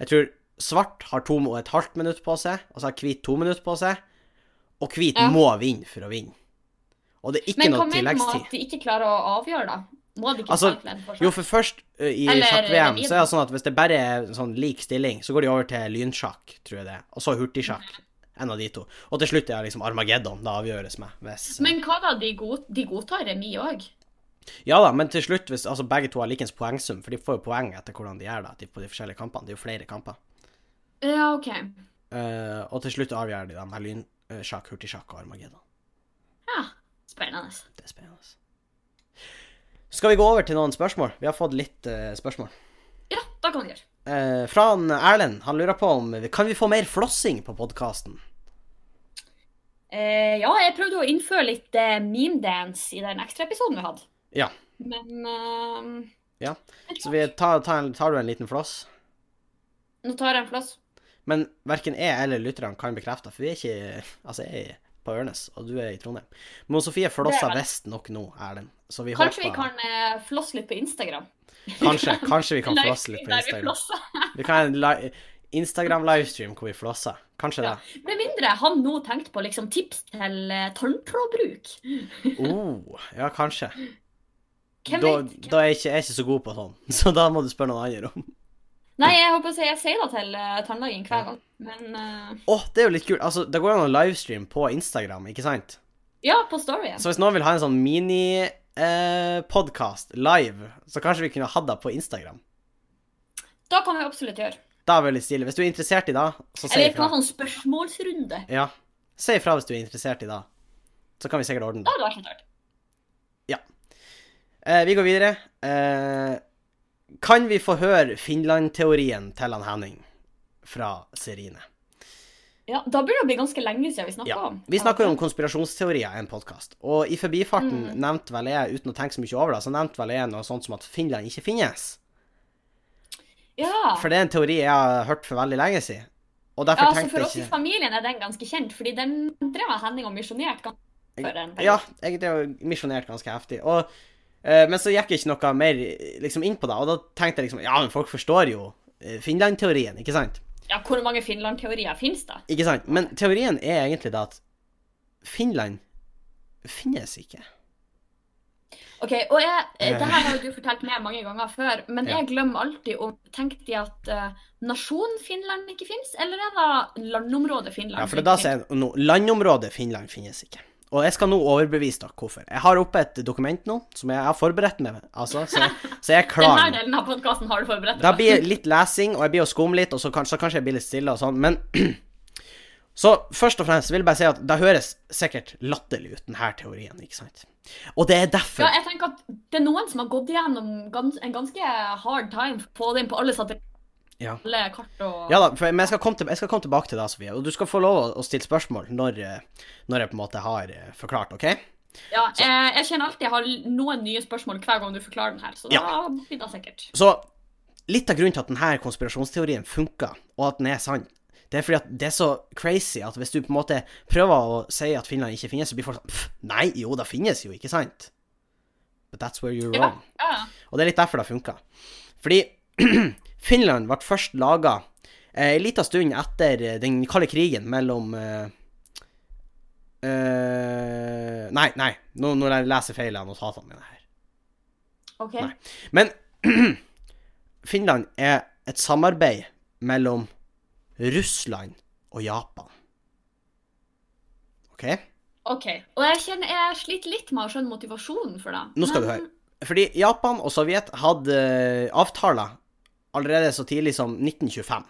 Speaker 1: jeg tror svart har to og et halvt minutt på seg, og så har hvit to minutter på seg, og hvit
Speaker 2: Ja.
Speaker 1: må vinne for å vinne. Og det er ikke
Speaker 2: Men hva
Speaker 1: noe
Speaker 2: mener du med
Speaker 1: tilleggstid.
Speaker 2: at de ikke klarer å avgjøre, da? Må de ikke
Speaker 1: Altså,
Speaker 2: ta den for
Speaker 1: Jo, for først ø, i
Speaker 2: Eller
Speaker 1: sjakk-VM
Speaker 2: revir.
Speaker 1: så er det sånn at hvis det bare er sånn lik stilling, så går de over til lynsjakk, tror jeg det. er. Og så hurtigsjakk. En av de to. Og til slutt er det liksom Armageddon det avgjøres med. Hvis, eh,
Speaker 2: Men hva da, de, god, de godtar remis òg?
Speaker 1: ja da, men til slutt, hvis altså, begge to har likens poengsum, for de får jo poeng etter hvordan de gjør det de- på de forskjellige kampene. Det er jo flere kamper.
Speaker 2: Ja, OK.
Speaker 1: Eh, og til slutt avgjør de dem med lynsjakk, hurtigsjakk og Armageddon.
Speaker 2: Ja, spennende.
Speaker 1: Det er spennende. altså. Skal vi gå over til noen spørsmål? Vi har fått litt eh, spørsmål.
Speaker 2: Ja, da kan vi gjøre.
Speaker 1: Eh, fra han Erlend. Han lurer på om Kan vi få mer flossing på podkasten?
Speaker 2: Eh, ja, jeg prøvde å innføre litt eh, meme dance i den ekstra episoden vi hadde.
Speaker 1: Ja.
Speaker 2: Men eh,
Speaker 1: Ja, Så vi tar, tar, en- tar du en liten floss?
Speaker 2: nå tar jeg en plass.
Speaker 1: Men verken jeg eller lytterne kan bekrefte, for vi er ikke Altså, jeg er på Ørnes, og du er i Trondheim. Men Sofie flosser
Speaker 2: Det er vel-
Speaker 1: visst nok nå, Erlend. Så vi
Speaker 2: Kanskje vi
Speaker 1: håper
Speaker 2: kan eh, flosse litt på Instagram?
Speaker 1: kanskje, kanskje vi kan
Speaker 2: Livestream
Speaker 1: flosse litt på
Speaker 2: der vi
Speaker 1: Instagram.
Speaker 2: flosser.
Speaker 1: Vi kan ha en li Instagram-livestream hvor vi flosser. Kanskje
Speaker 2: Ja.
Speaker 1: det.
Speaker 2: Med mindre han nå tenkte på liksom, tips til eh, tanntrådbruk.
Speaker 1: Oh, ja, kanskje.
Speaker 2: Hvem
Speaker 1: Da,
Speaker 2: vet?
Speaker 1: da er jeg, ikke, jeg er ikke så god på sånn, så da må du spørre noen andre om.
Speaker 2: Nei, jeg håper å si jeg sier det til eh, tannlegen
Speaker 1: Ja.
Speaker 2: hver gang. Men eh,
Speaker 1: Å, det er jo litt kult. Altså, det går jo an å livestream på Instagram, ikke sant?
Speaker 2: ja, på storyen.
Speaker 1: Så hvis noen vil ha en sånn mini-podkast live, så kanskje vi kunne hatt det på Instagram.
Speaker 2: Da kan vi absolutt gjøre.
Speaker 1: Da er det veldig stilig. Hvis du er interessert i det, så si
Speaker 2: Eller vi kan
Speaker 1: ifra.
Speaker 2: ha sånn spørsmålsrunde.
Speaker 1: Ja. Si ifra hvis du er interessert i det. Så kan vi sikkert ordne
Speaker 2: Da
Speaker 1: det.
Speaker 2: hadde det vært litt artig.
Speaker 1: Eh, vi går videre. Eh, kan vi få høre Finland-teorien til han Henning fra Serine?
Speaker 2: Ja, da burde det bli ganske lenge siden vi snakka
Speaker 1: Ja.
Speaker 2: om.
Speaker 1: Vi snakker jo om konspirasjonsteorier i en podkast, og i forbifarten
Speaker 2: Mm.
Speaker 1: nevnte vel jeg, uten å tenke så mye over det, så nevnte vel jeg noe sånt som at Finland ikke finnes.
Speaker 2: Ja.
Speaker 1: For det er en teori jeg har hørt for veldig lenge siden. Og derfor
Speaker 2: Ja, altså
Speaker 1: tenkte
Speaker 2: For oss
Speaker 1: jeg
Speaker 2: i
Speaker 1: ikke
Speaker 2: familien er den ganske kjent, fordi den drev jeg Henning og misjonerte ganske før den.
Speaker 1: Ja, jeg drev og misjonerte ganske heftig. Og, eh, men så gikk jeg ikke noe mer eh, liksom, inn på det. Og da tenkte jeg liksom Ja, men folk forstår jo eh, Finland-teorien, ikke sant?
Speaker 2: Ja, Hvor mange Finland-teorier finnes da?
Speaker 1: Ikke sant? Men teorien er egentlig det at Finland finnes ikke.
Speaker 2: Ok, og jeg, eh,
Speaker 1: Eh.
Speaker 2: det her har jo du fortalt meg mange ganger før, men
Speaker 1: Ja.
Speaker 2: jeg glemmer alltid om Tenkte de at eh, nasjonen Finland ikke finnes, eller er det landområdet Finland?
Speaker 1: Ja, for det er da
Speaker 2: ikke finnes?
Speaker 1: sier jeg no, landområdet Finland finnes ikke. Og jeg skal nå overbevise dere hvorfor. Jeg har oppe et dokument nå som jeg har forberedt meg med. Altså, så, så jeg er klar.
Speaker 2: Denne
Speaker 1: nå.
Speaker 2: delen av podkasten har du forberedt
Speaker 1: Da blir det litt lesing, og jeg blir å skumme litt, og så kanskje, så kanskje jeg blir litt stille og sånn, men Så først og fremst vil jeg bare si at det høres sikkert latterlig ut, denne teorien, ikke sant? Og det er derfor
Speaker 2: Ja, jeg tenker at det er noen som har gått gjennom gans en ganske hard time for å få det inn på alle satellitter,
Speaker 1: Ja.
Speaker 2: alle kart og
Speaker 1: Ja da, for, men jeg skal, komme til, jeg skal komme tilbake til deg, Sofie. Og du skal få lov å, å stille spørsmål når, eh, når jeg på en måte har eh, forklart, OK?
Speaker 2: Ja, eh, jeg, jeg kjenner alltid jeg har noen nye spørsmål hver gang du forklarer den her, så da blir det sikkert.
Speaker 1: Så litt av grunnen til at denne konspirasjonsteorien funker, og at den er sann, det er fordi at det er så crazy at hvis du på en måte prøver å si at Finland ikke finnes, så blir folk sånn «Pff, Nei, jo, det finnes jo, ikke sant? But that's where you're
Speaker 2: Ja,
Speaker 1: wrong.
Speaker 2: ja.
Speaker 1: Og det er litt derfor det funka. Fordi Finland ble først laga ei eh, lita stund etter eh, den kalde krigen mellom eh, eh, Nei, nei, nå, nå leser jeg feil av notatene mine her.
Speaker 2: OK.
Speaker 1: Nei. Men Finland er et samarbeid mellom Russland og Japan. OK?
Speaker 2: ok. Og jeg kjenner jeg sliter litt med å skjønne motivasjonen for det.
Speaker 1: Nå skal du
Speaker 2: Men-
Speaker 1: høre. Fordi Japan og Sovjet hadde eh, avtaler allerede så tidlig som 1925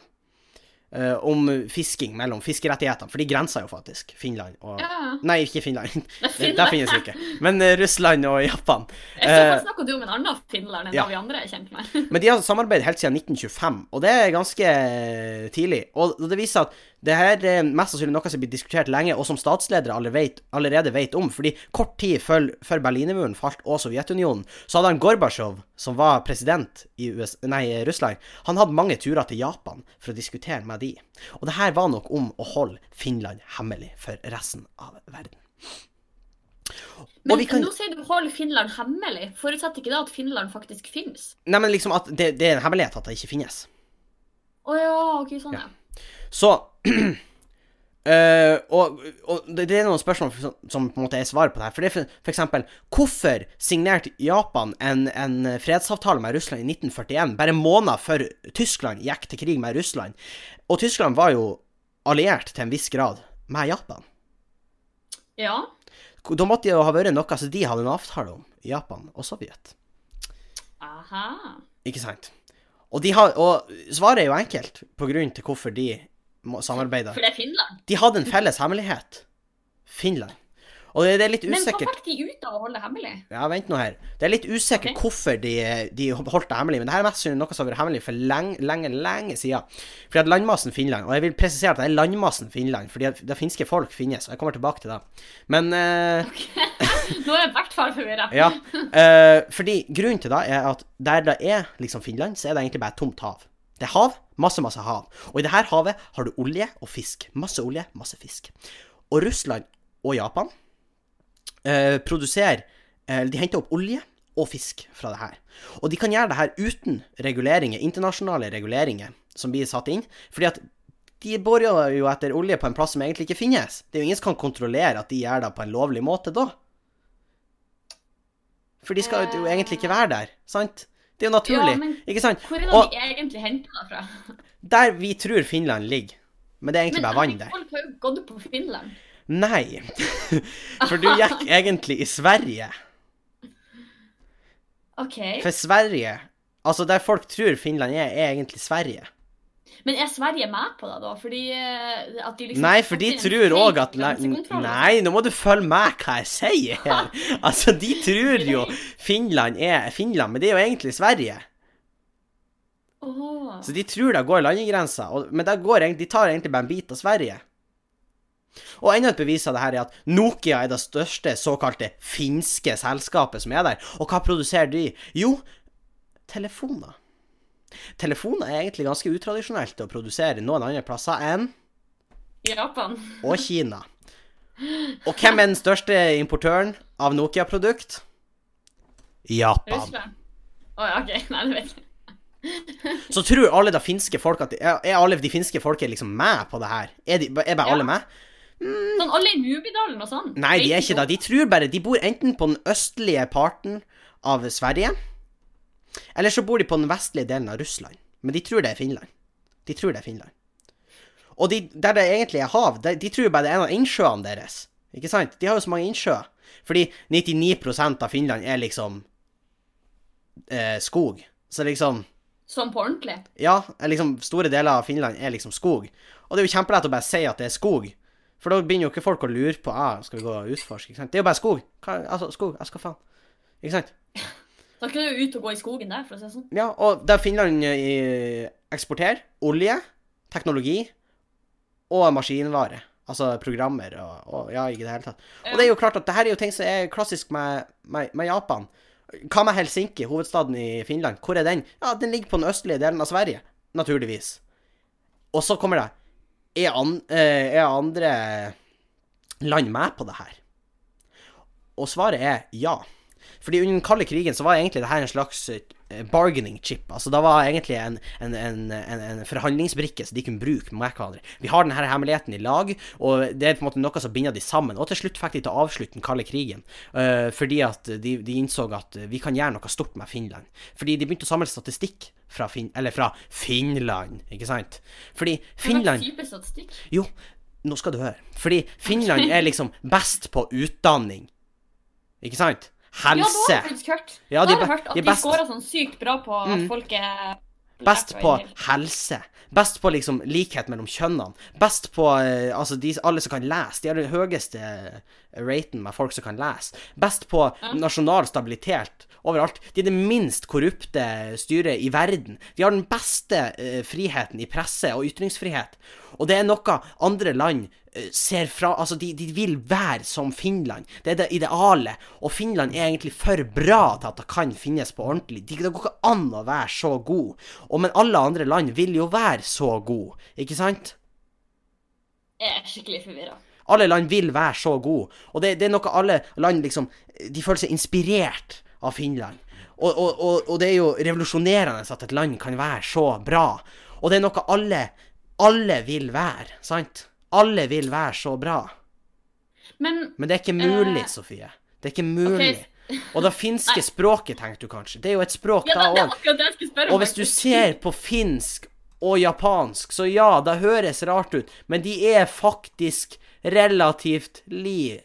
Speaker 1: eh, om fisking mellom fiskerettighetene, for de grensa jo faktisk Finland og
Speaker 2: Ja, ja.
Speaker 1: Nei, ikke Finland.
Speaker 2: Det
Speaker 1: Det,
Speaker 2: finner
Speaker 1: der finnes det ikke. Men eh, Russland og Japan.
Speaker 2: Jeg så
Speaker 1: Eh,
Speaker 2: faktisk snakker du om en annen finland enn
Speaker 1: ja.
Speaker 2: det vi andre er kjent med.
Speaker 1: Men de har samarbeidet helt siden 1925, og det er ganske eh, tidlig. Og det viser at det her er mest sannsynlig noe som blir diskutert lenge, og som statsledere alle vet, allerede vet om. fordi kort tid før, før Berlinmuren falt og Sovjetunionen, så hadde han Gorbatsjov, som var president i US, nei, Russland, han hadde mange turer til Japan for å diskutere med de. Og det her var nok om å holde Finland hemmelig for resten av verden.
Speaker 2: Men
Speaker 1: vi kan-
Speaker 2: nå sier du 'hold Finland hemmelig'. Forutsetter ikke det at Finland faktisk finnes?
Speaker 1: Nei, men liksom at det, det er en hemmelighet at det ikke finnes.
Speaker 2: Å ja, ok, sånn
Speaker 1: Ja.
Speaker 2: ja.
Speaker 1: Så eh, og, og det det er noen spørsmål som, som på en måte er svaret på det her. For, det er for, for eksempel, hvorfor signerte Japan en, en fredsavtale med Russland i 1941, bare måneder før Tyskland gikk til krig med Russland? Og Tyskland var jo alliert til en viss grad med Japan.
Speaker 2: Ja.
Speaker 1: Da måtte det jo ha vært noe som de hadde en avtale om, Japan og Sovjet.
Speaker 2: Aha.
Speaker 1: Ikke sant? Og, de har, og svaret er jo enkelt på grunn til hvorfor de må- samarbeider.
Speaker 2: For det er Finland.
Speaker 1: De hadde en felles hemmelighet. Finland. Og det, det er litt
Speaker 2: Men hva
Speaker 1: usikkert
Speaker 2: fikk de ut av å holde det hemmelig?
Speaker 1: Ja, vent nå her. Det er litt usikkert
Speaker 2: Ok.
Speaker 1: hvorfor de, de holdt det hemmelig, men det her er mest sannsynlig noe som har vært hemmelig for lenge, lenge, lenge siden. Fordi at landmassen Finland Og jeg vil presisere at det er landmassen Finland, fordi at det finske folk finnes, og jeg kommer tilbake til det. Men eh,
Speaker 2: Nå er jeg i hvert fall forvirra.
Speaker 1: Ja. eh, fordi grunnen til det er at der det er liksom Finland, så er det egentlig bare et tomt hav. Det er hav, masse, masse hav. Og i det her havet har du olje og fisk. Masse olje, masse fisk. Og Russland og Japan eh, produserer eh, De henter opp olje og fisk fra det her. Og de kan gjøre det her uten reguleringer, internasjonale reguleringer som blir satt inn. Fordi at de borer jo etter olje på en plass som egentlig ikke finnes. Det er jo ingen som kan kontrollere at de gjør det på en lovlig måte da. For de skal jo egentlig ikke være der, sant? Det er jo naturlig,
Speaker 2: Eh. Ja, men
Speaker 1: ikke sant?
Speaker 2: Hvor er det
Speaker 1: Og-
Speaker 2: de egentlig henter det fra?
Speaker 1: Der vi tror Finland ligger, men det er egentlig
Speaker 2: Men
Speaker 1: bare vann der.
Speaker 2: Folk har jo gått på Finland.
Speaker 1: Nei, for du gikk egentlig i Sverige.
Speaker 2: OK.
Speaker 1: For Sverige Altså, der folk tror Finland er, er egentlig Sverige.
Speaker 2: Men er Sverige med på det, da? Fordi eh, at de liksom
Speaker 1: Nei, for de tror òg at la-
Speaker 2: altså.
Speaker 1: Nei, nå må du følge med hva jeg sier her. Altså, de tror jo Finland er Finland, men det er jo egentlig Sverige.
Speaker 2: Oh.
Speaker 1: Så de tror det går landegrenser, og- men det går, egentlig- de tar egentlig bare en bit av Sverige. Og enda et bevis av det her er at Nokia er det største såkalte finske selskapet som er der. Og hva produserer de? Jo, telefoner. Telefoner er egentlig ganske utradisjonelt å produsere noen andre plasser enn
Speaker 2: Japan.
Speaker 1: og Kina. Og hvem er den største importøren av Nokia-produkt? Japan.
Speaker 2: Russland. Å ja, OK. Nei, det vet jeg.
Speaker 1: Så tror alle de finske folk at Er er alle de finske folk er liksom med på det her? Er, de, er bare
Speaker 2: Ja.
Speaker 1: alle med?
Speaker 2: Sånn alle i Nubidalen og sånn.
Speaker 1: Nei, de er ikke det. De tror bare De bor enten på den østlige parten av Sverige, eller så bor de på den vestlige delen av Russland. Men de tror det er Finland. De tror det er Finland. Og de, der det egentlig er hav, de, de tror bare det er en av innsjøene deres. Ikke sant? De har jo så mange innsjøer. Fordi 99 av Finland er liksom eh, skog. Så liksom
Speaker 2: Sånn på ordentlig.
Speaker 1: Ja, er liksom, store deler av Finland er liksom skog. Og det er jo kjempelett å bare si at det er skog. For da begynner jo ikke folk å lure på ah, skal vi gå og utforske. ikke sant? Det er jo bare skog. Hva, altså, skog. Jeg skal faen. Ikke sant?
Speaker 2: Da kunne du ut og gå i skogen der, for å si det sånn.
Speaker 1: Ja, og der Finland eh, eksporterer olje, teknologi og maskinvare. Altså programmer og, og ja, ikke det hele tatt. Og det er jo klart at det her er jo ting som er klassisk med, med, med Japan. Hva med Helsinki, hovedstaden i Finland? Hvor er den? Ja, den ligger på den østlige delen av Sverige, naturligvis. Og så kommer det Er, an, eh, er andre land med på det her? Og svaret er ja. Fordi under den kalde krigen så var egentlig det her en slags eh, bargaining chip. Altså det var egentlig en, en, en, en, en forhandlingsbrikke som de kunne bruke med hverandre. Vi har denne hemmeligheten i lag, og det er på en måte noe som binder de sammen. Og til slutt fikk de til å avslutte den kalde krigen, eh, fordi at de, de innså at vi kan gjøre noe stort med Finland. Fordi de begynte å samle statistikk fra, fin eller fra Finland, ikke sant? Fordi Finland
Speaker 2: Det var type statistikk.
Speaker 1: jo, nå skal du høre. Fordi Finland er liksom best på utdanning. Ikke sant?
Speaker 2: Ja, da har
Speaker 1: Helse.
Speaker 2: jeg faktisk hørt.
Speaker 1: Ja,
Speaker 2: da
Speaker 1: de
Speaker 2: har jeg
Speaker 1: be-
Speaker 2: hørt
Speaker 1: de er
Speaker 2: at de
Speaker 1: best-
Speaker 2: scorer sånn sykt bra på at
Speaker 1: Mm.
Speaker 2: folk er
Speaker 1: Best
Speaker 2: lærte og
Speaker 1: på
Speaker 2: en hel-
Speaker 1: helse. Best på liksom likhet mellom kjønnene. Best på eh, altså de, alle som kan lese. De har den høyeste eh, raten med folk som kan lese. Best på nasjonal stabilitet overalt. De er det minst korrupte styret i verden. De har den beste eh, friheten i presse og ytringsfrihet. Og det er noe andre land eh, ser fra Altså, de, de vil være som Finland. Det er det idealet. Og Finland er egentlig for bra til at det kan finnes på ordentlig. De, det går ikke an å være så god. Og, men alle andre land vil jo være så god, ikke sant?
Speaker 2: Jeg er skikkelig forvirra.
Speaker 1: Alle land vil være så god. Og det, det er noe alle land liksom De føler seg inspirert av Finland. Og, og, og, og det er jo revolusjonerende at et land kan være så bra. Og det er noe alle Alle vil være, sant? Alle vil være så bra.
Speaker 2: Men
Speaker 1: Men det er ikke mulig,
Speaker 2: Eh,
Speaker 1: Sofie. Det er ikke mulig. Og det finske
Speaker 2: Nei.
Speaker 1: språket, tenkte du kanskje. Det er jo et språk,
Speaker 2: ja, det,
Speaker 1: da
Speaker 2: det er
Speaker 1: òg.
Speaker 2: akkurat det jeg skulle spørre
Speaker 1: Og hvis du
Speaker 2: faktisk.
Speaker 1: ser på finsk og japansk, så ja, det høres rart ut, men de er faktisk relativt like.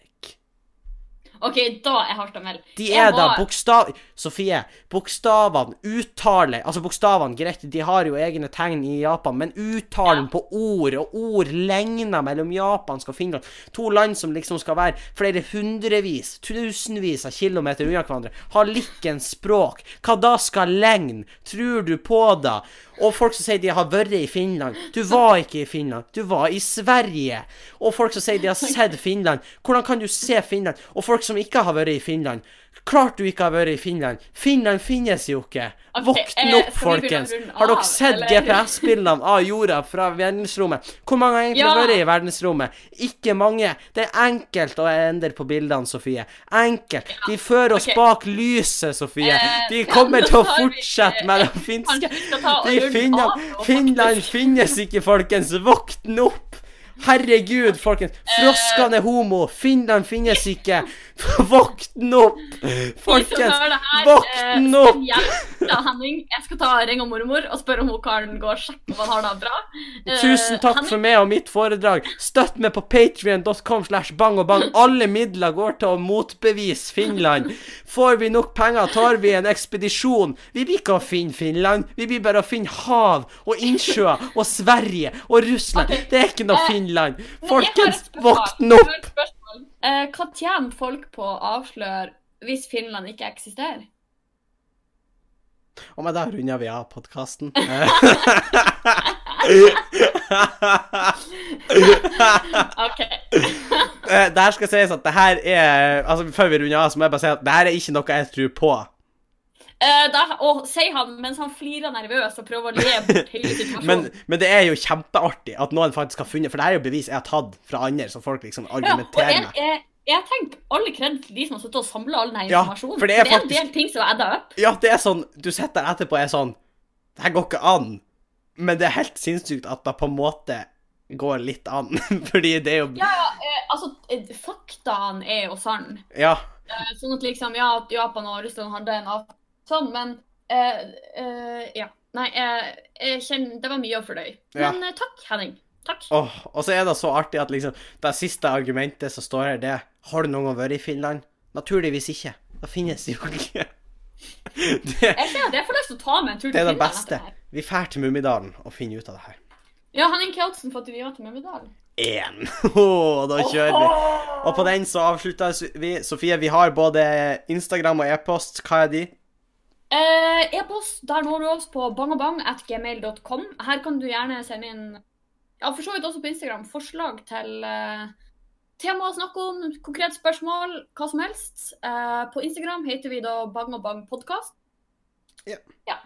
Speaker 2: OK, da er hardt å melde.
Speaker 1: De
Speaker 2: Jeg
Speaker 1: er da
Speaker 2: var-
Speaker 1: bokstav... Sofie, bokstavene uttaler Altså, bokstavene, greit, de har jo egne tegn i Japan, men uttalen
Speaker 2: Ja.
Speaker 1: på ord og ordlegner mellom japansk og Finland To land som liksom skal være flere hundrevis, tusenvis av kilometer unna hverandre, har likens språk. Hva da skal legn? Tror du på det? Og folk som sier de har vært i Finland. Du var ikke i Finland, du var i Sverige. Og folk som sier de har sett Finland. Hvordan kan du se Finland? Og folk som ikke har vært i Finland. Klart du ikke har vært i Finland. Finland finnes jo ikke.
Speaker 2: Ok,
Speaker 1: Våkn
Speaker 2: eh,
Speaker 1: opp,
Speaker 2: skal vi begynne å
Speaker 1: folkens.
Speaker 2: runde
Speaker 1: Har
Speaker 2: av,
Speaker 1: dere sett
Speaker 2: eller?
Speaker 1: GPS-bildene av jorda fra verdensrommet? Hvor mange har egentlig
Speaker 2: Ja.
Speaker 1: vært i verdensrommet? Ikke mange. Det er enkelt å endre på bildene, Sofie. Enkelt. De fører oss
Speaker 2: ok.
Speaker 1: bak lyset, Sofie.
Speaker 2: Eh,
Speaker 1: De
Speaker 2: ja,
Speaker 1: kommer
Speaker 2: nå
Speaker 1: til å
Speaker 2: har vi-
Speaker 1: fortsette med de
Speaker 2: Kanskje
Speaker 1: finske
Speaker 2: vi skal ta og
Speaker 1: de
Speaker 2: runde av
Speaker 1: Finland,
Speaker 2: nå, faktisk.
Speaker 1: Finland finnes ikke, folkens. Våkn opp! Herregud, folkens.
Speaker 2: Eh.
Speaker 1: Froskene er homo. Finland finnes ikke. Våkn opp!
Speaker 2: De som
Speaker 1: Folkens,
Speaker 2: hører det her,
Speaker 1: våkn
Speaker 2: eh,
Speaker 1: opp!
Speaker 2: skal hjelpe deg, Henning, jeg skal ta ringe mormor og spørre om hun kan gå og sjekke om han har det bra. Eh,
Speaker 1: Tusen takk
Speaker 2: Henning,
Speaker 1: for meg og mitt foredrag. Støtt meg på patrion.com slash bang og bang. Alle midler går til å motbevise Finland. Får vi nok penger, tar vi en ekspedisjon. Vi blir ikke å finne Finland. Vi blir bare å finne hav og innsjøer og Sverige og Russland.
Speaker 2: Ok,
Speaker 1: Det er ikke noe
Speaker 2: eh,
Speaker 1: Finland.
Speaker 2: men
Speaker 1: Folkens,
Speaker 2: jeg har et spørsmål.
Speaker 1: våkn
Speaker 2: Jeg
Speaker 1: opp!
Speaker 2: har et spørsmål. Eh, hva tjener folk på å avsløre hvis Finland ikke eksisterer?
Speaker 1: Og med det runder vi av Eh. podkasten.
Speaker 2: OK.
Speaker 1: Eh, det her skal sies at det her er Altså, før vi runder av, så må jeg bare si at det her er ikke noe jeg tror på.
Speaker 2: Eh, da, og sier han mens han flirer nervøs og prøver å le bort hele
Speaker 1: Men,
Speaker 2: situasjonen.
Speaker 1: men det er jo kjempeartig at noen faktisk har funnet For det her er jo bevis jeg har tatt fra andre, som folk liksom
Speaker 2: ja, og
Speaker 1: argumenterer
Speaker 2: jeg,
Speaker 1: med.
Speaker 2: jeg, jeg tenker alle kred til de som har sittet og samla all denne
Speaker 1: Ja,
Speaker 2: informasjonen.
Speaker 1: for det er
Speaker 2: en del
Speaker 1: faktisk-
Speaker 2: ting som er edda opp.
Speaker 1: Ja, det er sånn Du sitter der etterpå og er sånn Det her går ikke an. Men det er helt sinnssykt at det på en måte går litt an. Fordi det er jo
Speaker 2: Ja, ja, eh, altså, eh, faktaene er jo sann.
Speaker 1: Ja.
Speaker 2: Eh, sånn at liksom, ja, at Japan og Russland hadde en avtale sånn, men eh, eh, Ja. Nei, eh, jeg kjenner Det var mye å fordøye.
Speaker 1: Ja.
Speaker 2: Men eh, takk, Henning. Takk.
Speaker 1: Åh, og så er det så artig at liksom, det siste argumentet som står her, det er Har du noen gang vært i Finland? Naturligvis ikke. Det finnes jo ikke. Det,
Speaker 2: Jeg ser at jeg får lyst til å ta med en tur til
Speaker 1: det er det
Speaker 2: Finland etter
Speaker 1: beste.
Speaker 2: her.
Speaker 1: Vi drar til Mummidalen og finner ut av det her.
Speaker 2: Ja, han er en Kjeldsen for at vi var til Mummidalen.
Speaker 1: Én! Åh, da kjører vi. Og på den så avslutter vi. Sofie, vi har både Instagram og e-post. Hva er de?
Speaker 2: Eh, E-post, der når du oss på bangabang.gmail.com. Her kan du gjerne sende inn, ja, for så vidt også på Instagram, forslag til eh, tema å snakke om, konkrete spørsmål, hva som helst. Eh, på Instagram heter vi da bangabangpodkast.
Speaker 1: Ja.
Speaker 2: ja.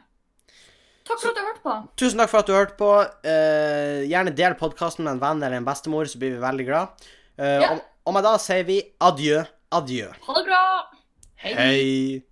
Speaker 2: Takk for at du hørte på.
Speaker 1: Tusen takk for at du hørte på. Eh, gjerne del podkasten med en venn eller en bestemor, så blir vi veldig glad. Eh,
Speaker 2: Ja.
Speaker 1: om, om jeg da sier vi adjø, adjø.
Speaker 2: Ha det bra. Hei.
Speaker 1: Hei.